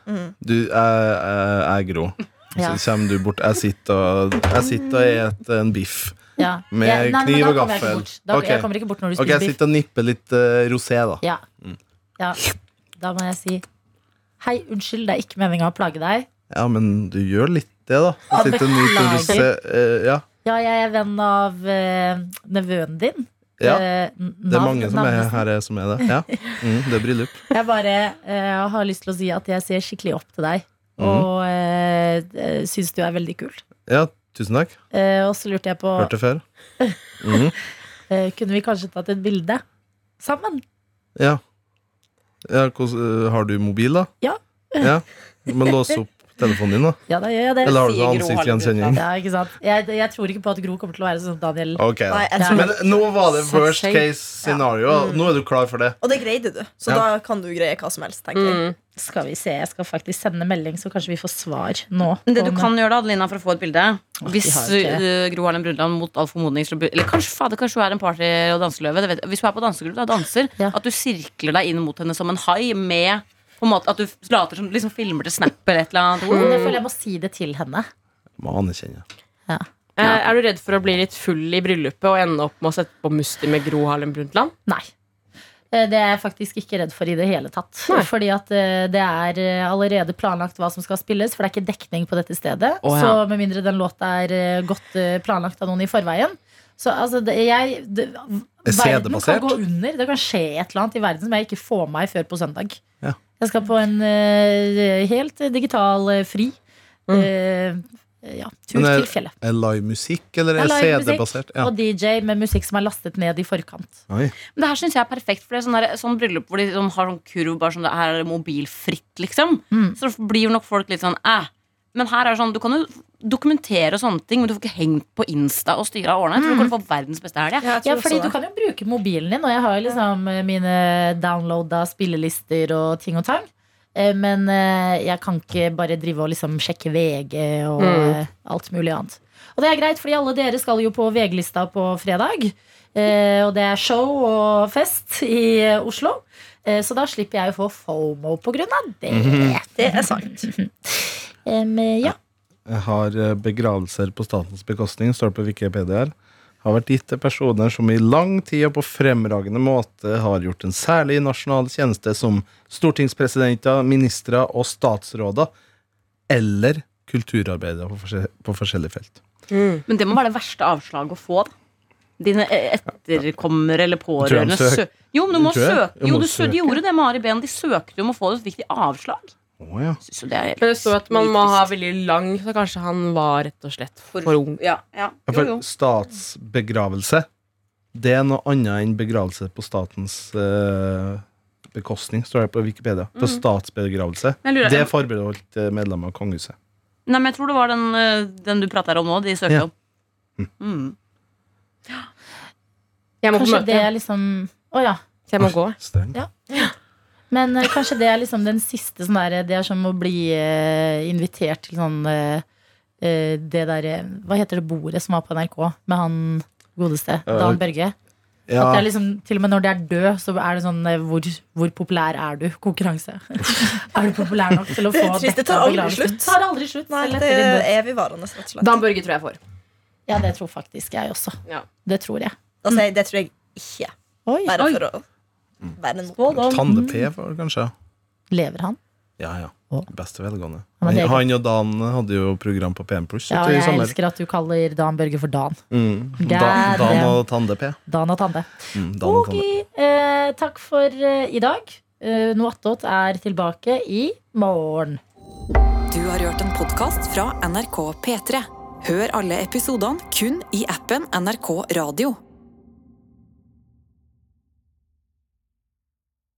[SPEAKER 5] Du, jeg, jeg, jeg er grå.
[SPEAKER 2] Ja.
[SPEAKER 5] Så kommer du bort. Jeg sitter og Jeg sitter og et en biff.
[SPEAKER 2] Ja.
[SPEAKER 5] Med
[SPEAKER 2] Jeg- nei, men
[SPEAKER 5] kniv
[SPEAKER 2] da
[SPEAKER 5] og
[SPEAKER 2] kommer jeg ikke
[SPEAKER 5] gaffel.
[SPEAKER 2] bort. Da,
[SPEAKER 5] Ok.
[SPEAKER 2] Jeg kommer ikke bort når du
[SPEAKER 5] Ok, jeg
[SPEAKER 2] spiser biff.
[SPEAKER 5] sitter og nipper litt eh, rosé, da.
[SPEAKER 2] Ja. ja. Da må jeg si Hei, unnskyld, det er ikke meninga å plage deg.
[SPEAKER 5] Ja, men du gjør litt det, da. Jeg sitter og nyter rosé. eh, ja.
[SPEAKER 2] Ja, jeg er venn av eh, nevøen din.
[SPEAKER 5] Ja,
[SPEAKER 2] Eh,
[SPEAKER 5] Det er
[SPEAKER 2] navn-
[SPEAKER 5] mange som er
[SPEAKER 2] navnet-
[SPEAKER 5] her eh, som er det. Ja. Mm, det er bryllup.
[SPEAKER 2] Jeg bare eh, har lyst til å si at jeg ser skikkelig opp til deg.
[SPEAKER 5] Mm.
[SPEAKER 2] Og uh, syns du er veldig kul.
[SPEAKER 5] Ja, tusen takk.
[SPEAKER 2] Eh, og så lurte jeg på
[SPEAKER 5] Hørt det før.
[SPEAKER 2] eh, Kunne vi kanskje tatt et bilde sammen?
[SPEAKER 5] Ja. Ja, hvordan- øh, har du mobil, da?
[SPEAKER 2] Ja.
[SPEAKER 5] ja. Du må låse opp telefonen din, da.
[SPEAKER 2] Ja, da gjør jeg det.
[SPEAKER 5] Eller har du sånn ansiktsgjenkjenning?
[SPEAKER 2] Ja, ikke sant? Jeg, jeg tror ikke på at Gro kommer til å være sånn som Daniel.
[SPEAKER 5] Ok, da.
[SPEAKER 2] Nei, jeg tror-
[SPEAKER 5] Men eh, nå var det worst
[SPEAKER 2] Sensei.
[SPEAKER 5] case scenario.
[SPEAKER 2] Ja. Mm.
[SPEAKER 5] Nå er du klar for det.
[SPEAKER 6] Og det greide du, så
[SPEAKER 5] Ja.
[SPEAKER 6] da kan du greie hva som helst. tenker
[SPEAKER 2] Mm.
[SPEAKER 3] Mm.
[SPEAKER 6] jeg
[SPEAKER 2] Skal vi se, Jeg skal faktisk sende melding, så kanskje vi får svar nå.
[SPEAKER 4] Det du
[SPEAKER 2] Om-
[SPEAKER 4] kan gjøre da, Adelina, for å få et bilde Hvis
[SPEAKER 2] har ikke
[SPEAKER 4] eh, Gro Harlem Brundtland mot all formodning skulle bli- Eller kanskje, fader, kanskje hun er en party- og danseløve. det vet jeg. Hvis hun er på dansegulvet og danser, at du sirkler deg inn mot henne som en hai med på en måte At du later som liksom filmer til Snap eller et eller annet.
[SPEAKER 2] Jo, det føler jeg må si det til henne.
[SPEAKER 5] Må anerkjenne.
[SPEAKER 3] Eh, Er du redd for å bli litt full i bryllupet og ende opp med å sette på muster med Gro Harlem Brundtland?
[SPEAKER 2] Nei. Eh, Det er jeg faktisk ikke redd for i det hele tatt. Fordi at eh, det er eh, allerede planlagt hva som skal spilles, for det er ikke dekning på dette stedet.
[SPEAKER 12] Å, ja.
[SPEAKER 2] Så med mindre den låta er eh, godt eh, planlagt av noen i forveien. Så altså, det, jeg det,
[SPEAKER 5] Er CD
[SPEAKER 2] Verden
[SPEAKER 5] basert?
[SPEAKER 2] kan gå under. Det kan skje et eller annet i verden som jeg ikke får med meg før på søndag.
[SPEAKER 5] Ja.
[SPEAKER 2] Jeg skal på en eh, helt eh, digital eh, fri eh, ja, tur
[SPEAKER 5] Men er,
[SPEAKER 2] til fjellet.
[SPEAKER 5] er live musikk, eller
[SPEAKER 2] Jeg
[SPEAKER 5] er
[SPEAKER 2] lager musikk,
[SPEAKER 5] CD-basert? Ja.
[SPEAKER 2] Og DJ med musikk som er lastet ned i forkant.
[SPEAKER 5] Oi.
[SPEAKER 4] Men det her syns jeg er perfekt, for det er sånn, der, sånn bryllup hvor de liksom har sånn kurv bare sånn det her er mobilfritt, liksom. Så blir jo nok folk litt sånn æh. Men her er det sånn, du kan jo dokumentere og sånne ting, men du får ikke hengt på Insta og styre av årene. Jeg tror du
[SPEAKER 2] Mm.
[SPEAKER 4] kan få verdens beste helg. jeg.
[SPEAKER 2] Ja, fordi du kan jo bruke mobilen din, og jeg har jo liksom eh, mine downloada spillelister og ting og tang. Eh, Men eh, jeg kan ikke bare drive og liksom sjekke VG og
[SPEAKER 12] Mm.
[SPEAKER 2] eh, alt mulig annet. Og det er greit, fordi alle dere skal jo på VG-lista på fredag. Eh, Og det er show og fest i eh, Oslo. Eh, Så da slipper jeg å få FOMO på grunn av det.
[SPEAKER 5] Mhm.
[SPEAKER 2] Det er sant. ja.
[SPEAKER 5] Jeg har eh, begravelser på statens bekostning, står det på Wikipedia her. Har vært gitt til personer som i lang tid og på fremragende måte har gjort en særlig nasjonal tjeneste som stortingspresidenter, ministre og statsråder, eller kulturarbeidere på, forskjell på forskjellige felt.
[SPEAKER 4] Men det må være det verste avslaget å få, da. Dine eh, etterkommere eller
[SPEAKER 5] tror han
[SPEAKER 4] pårørende
[SPEAKER 5] søk-
[SPEAKER 4] sø Jo, men du må
[SPEAKER 5] Tror jeg.
[SPEAKER 4] søke.
[SPEAKER 5] Jeg
[SPEAKER 4] Jo,
[SPEAKER 5] må
[SPEAKER 4] du sø
[SPEAKER 5] søke.
[SPEAKER 4] de gjorde det med Ari Behn. De søkte om å få det, så fikk de avslag.
[SPEAKER 5] Å ja.
[SPEAKER 4] Synes jo det er helt
[SPEAKER 3] Men det står at man må ha veldig lang, så kanskje han var rett og slett for ung.
[SPEAKER 4] Ja, ja.
[SPEAKER 5] Ja, For statsbegravelse, det er noe annet enn begravelse på statens eh, bekostning, står det på Wikipedia. For
[SPEAKER 4] Mhm.
[SPEAKER 5] statsbegravelse,
[SPEAKER 4] Men jeg lurer-
[SPEAKER 5] det er forbeholdt eh, medlemmer av kongehuset.
[SPEAKER 4] Nei, men jeg tror det var den, eh, den du prater om nå, de søkte
[SPEAKER 5] Ja.
[SPEAKER 4] om. Mm.
[SPEAKER 3] Jeg må på
[SPEAKER 2] Kanskje
[SPEAKER 3] møte.
[SPEAKER 2] det er liksom Å ja.
[SPEAKER 3] Så jeg må gå.
[SPEAKER 2] Men eh, kanskje det er liksom den siste sånn der Det er som å bli eh, invitert til sånn eh, eh, Det derre Hva heter det bordet som var på NRK med han godeste?
[SPEAKER 12] Eh,
[SPEAKER 2] Dan Børge.
[SPEAKER 12] ja.
[SPEAKER 2] At det er liksom, til og med når det er død, så er det sånn eh, hvor, hvor populær er du? Konkurranse. er du populær nok til å få
[SPEAKER 6] Det er trist, det
[SPEAKER 2] dette
[SPEAKER 6] tar aldri
[SPEAKER 2] begravelsen?
[SPEAKER 6] slutt.
[SPEAKER 2] Tar aldri slutt
[SPEAKER 6] Nei,
[SPEAKER 2] selv
[SPEAKER 6] det
[SPEAKER 2] etter din død.
[SPEAKER 6] er evigvarende, rett og slett.
[SPEAKER 3] Dan Børge tror jeg får.
[SPEAKER 2] Ja, det tror faktisk jeg også.
[SPEAKER 3] Ja.
[SPEAKER 2] Det tror jeg.
[SPEAKER 6] Da sier Altså, jeg det tror jeg ikke. Bare for å være en
[SPEAKER 2] sånn, mm.
[SPEAKER 5] Tande-P, var det kanskje?
[SPEAKER 2] Lever han?
[SPEAKER 5] Ja, ja. Beste velgående.
[SPEAKER 2] Ja, men
[SPEAKER 5] Han,
[SPEAKER 2] det er ikke-
[SPEAKER 5] han og Dan hadde jo program på PM Pluss.
[SPEAKER 2] Ja, og jeg elsker at du kaller Dan Børge for Dan.
[SPEAKER 5] Mm.
[SPEAKER 2] Det
[SPEAKER 5] Da,
[SPEAKER 2] er
[SPEAKER 5] Dan
[SPEAKER 2] det.
[SPEAKER 5] og Tande-P.
[SPEAKER 2] Dan og Tande.
[SPEAKER 5] Mm, Dan og
[SPEAKER 2] Ok,
[SPEAKER 5] Tande.
[SPEAKER 2] eh, takk for eh, i dag. Eh, Noe attåt er tilbake i morgen.
[SPEAKER 1] Du har hørt en podkast fra NRK P3. Hør alle episodene kun i appen NRK Radio.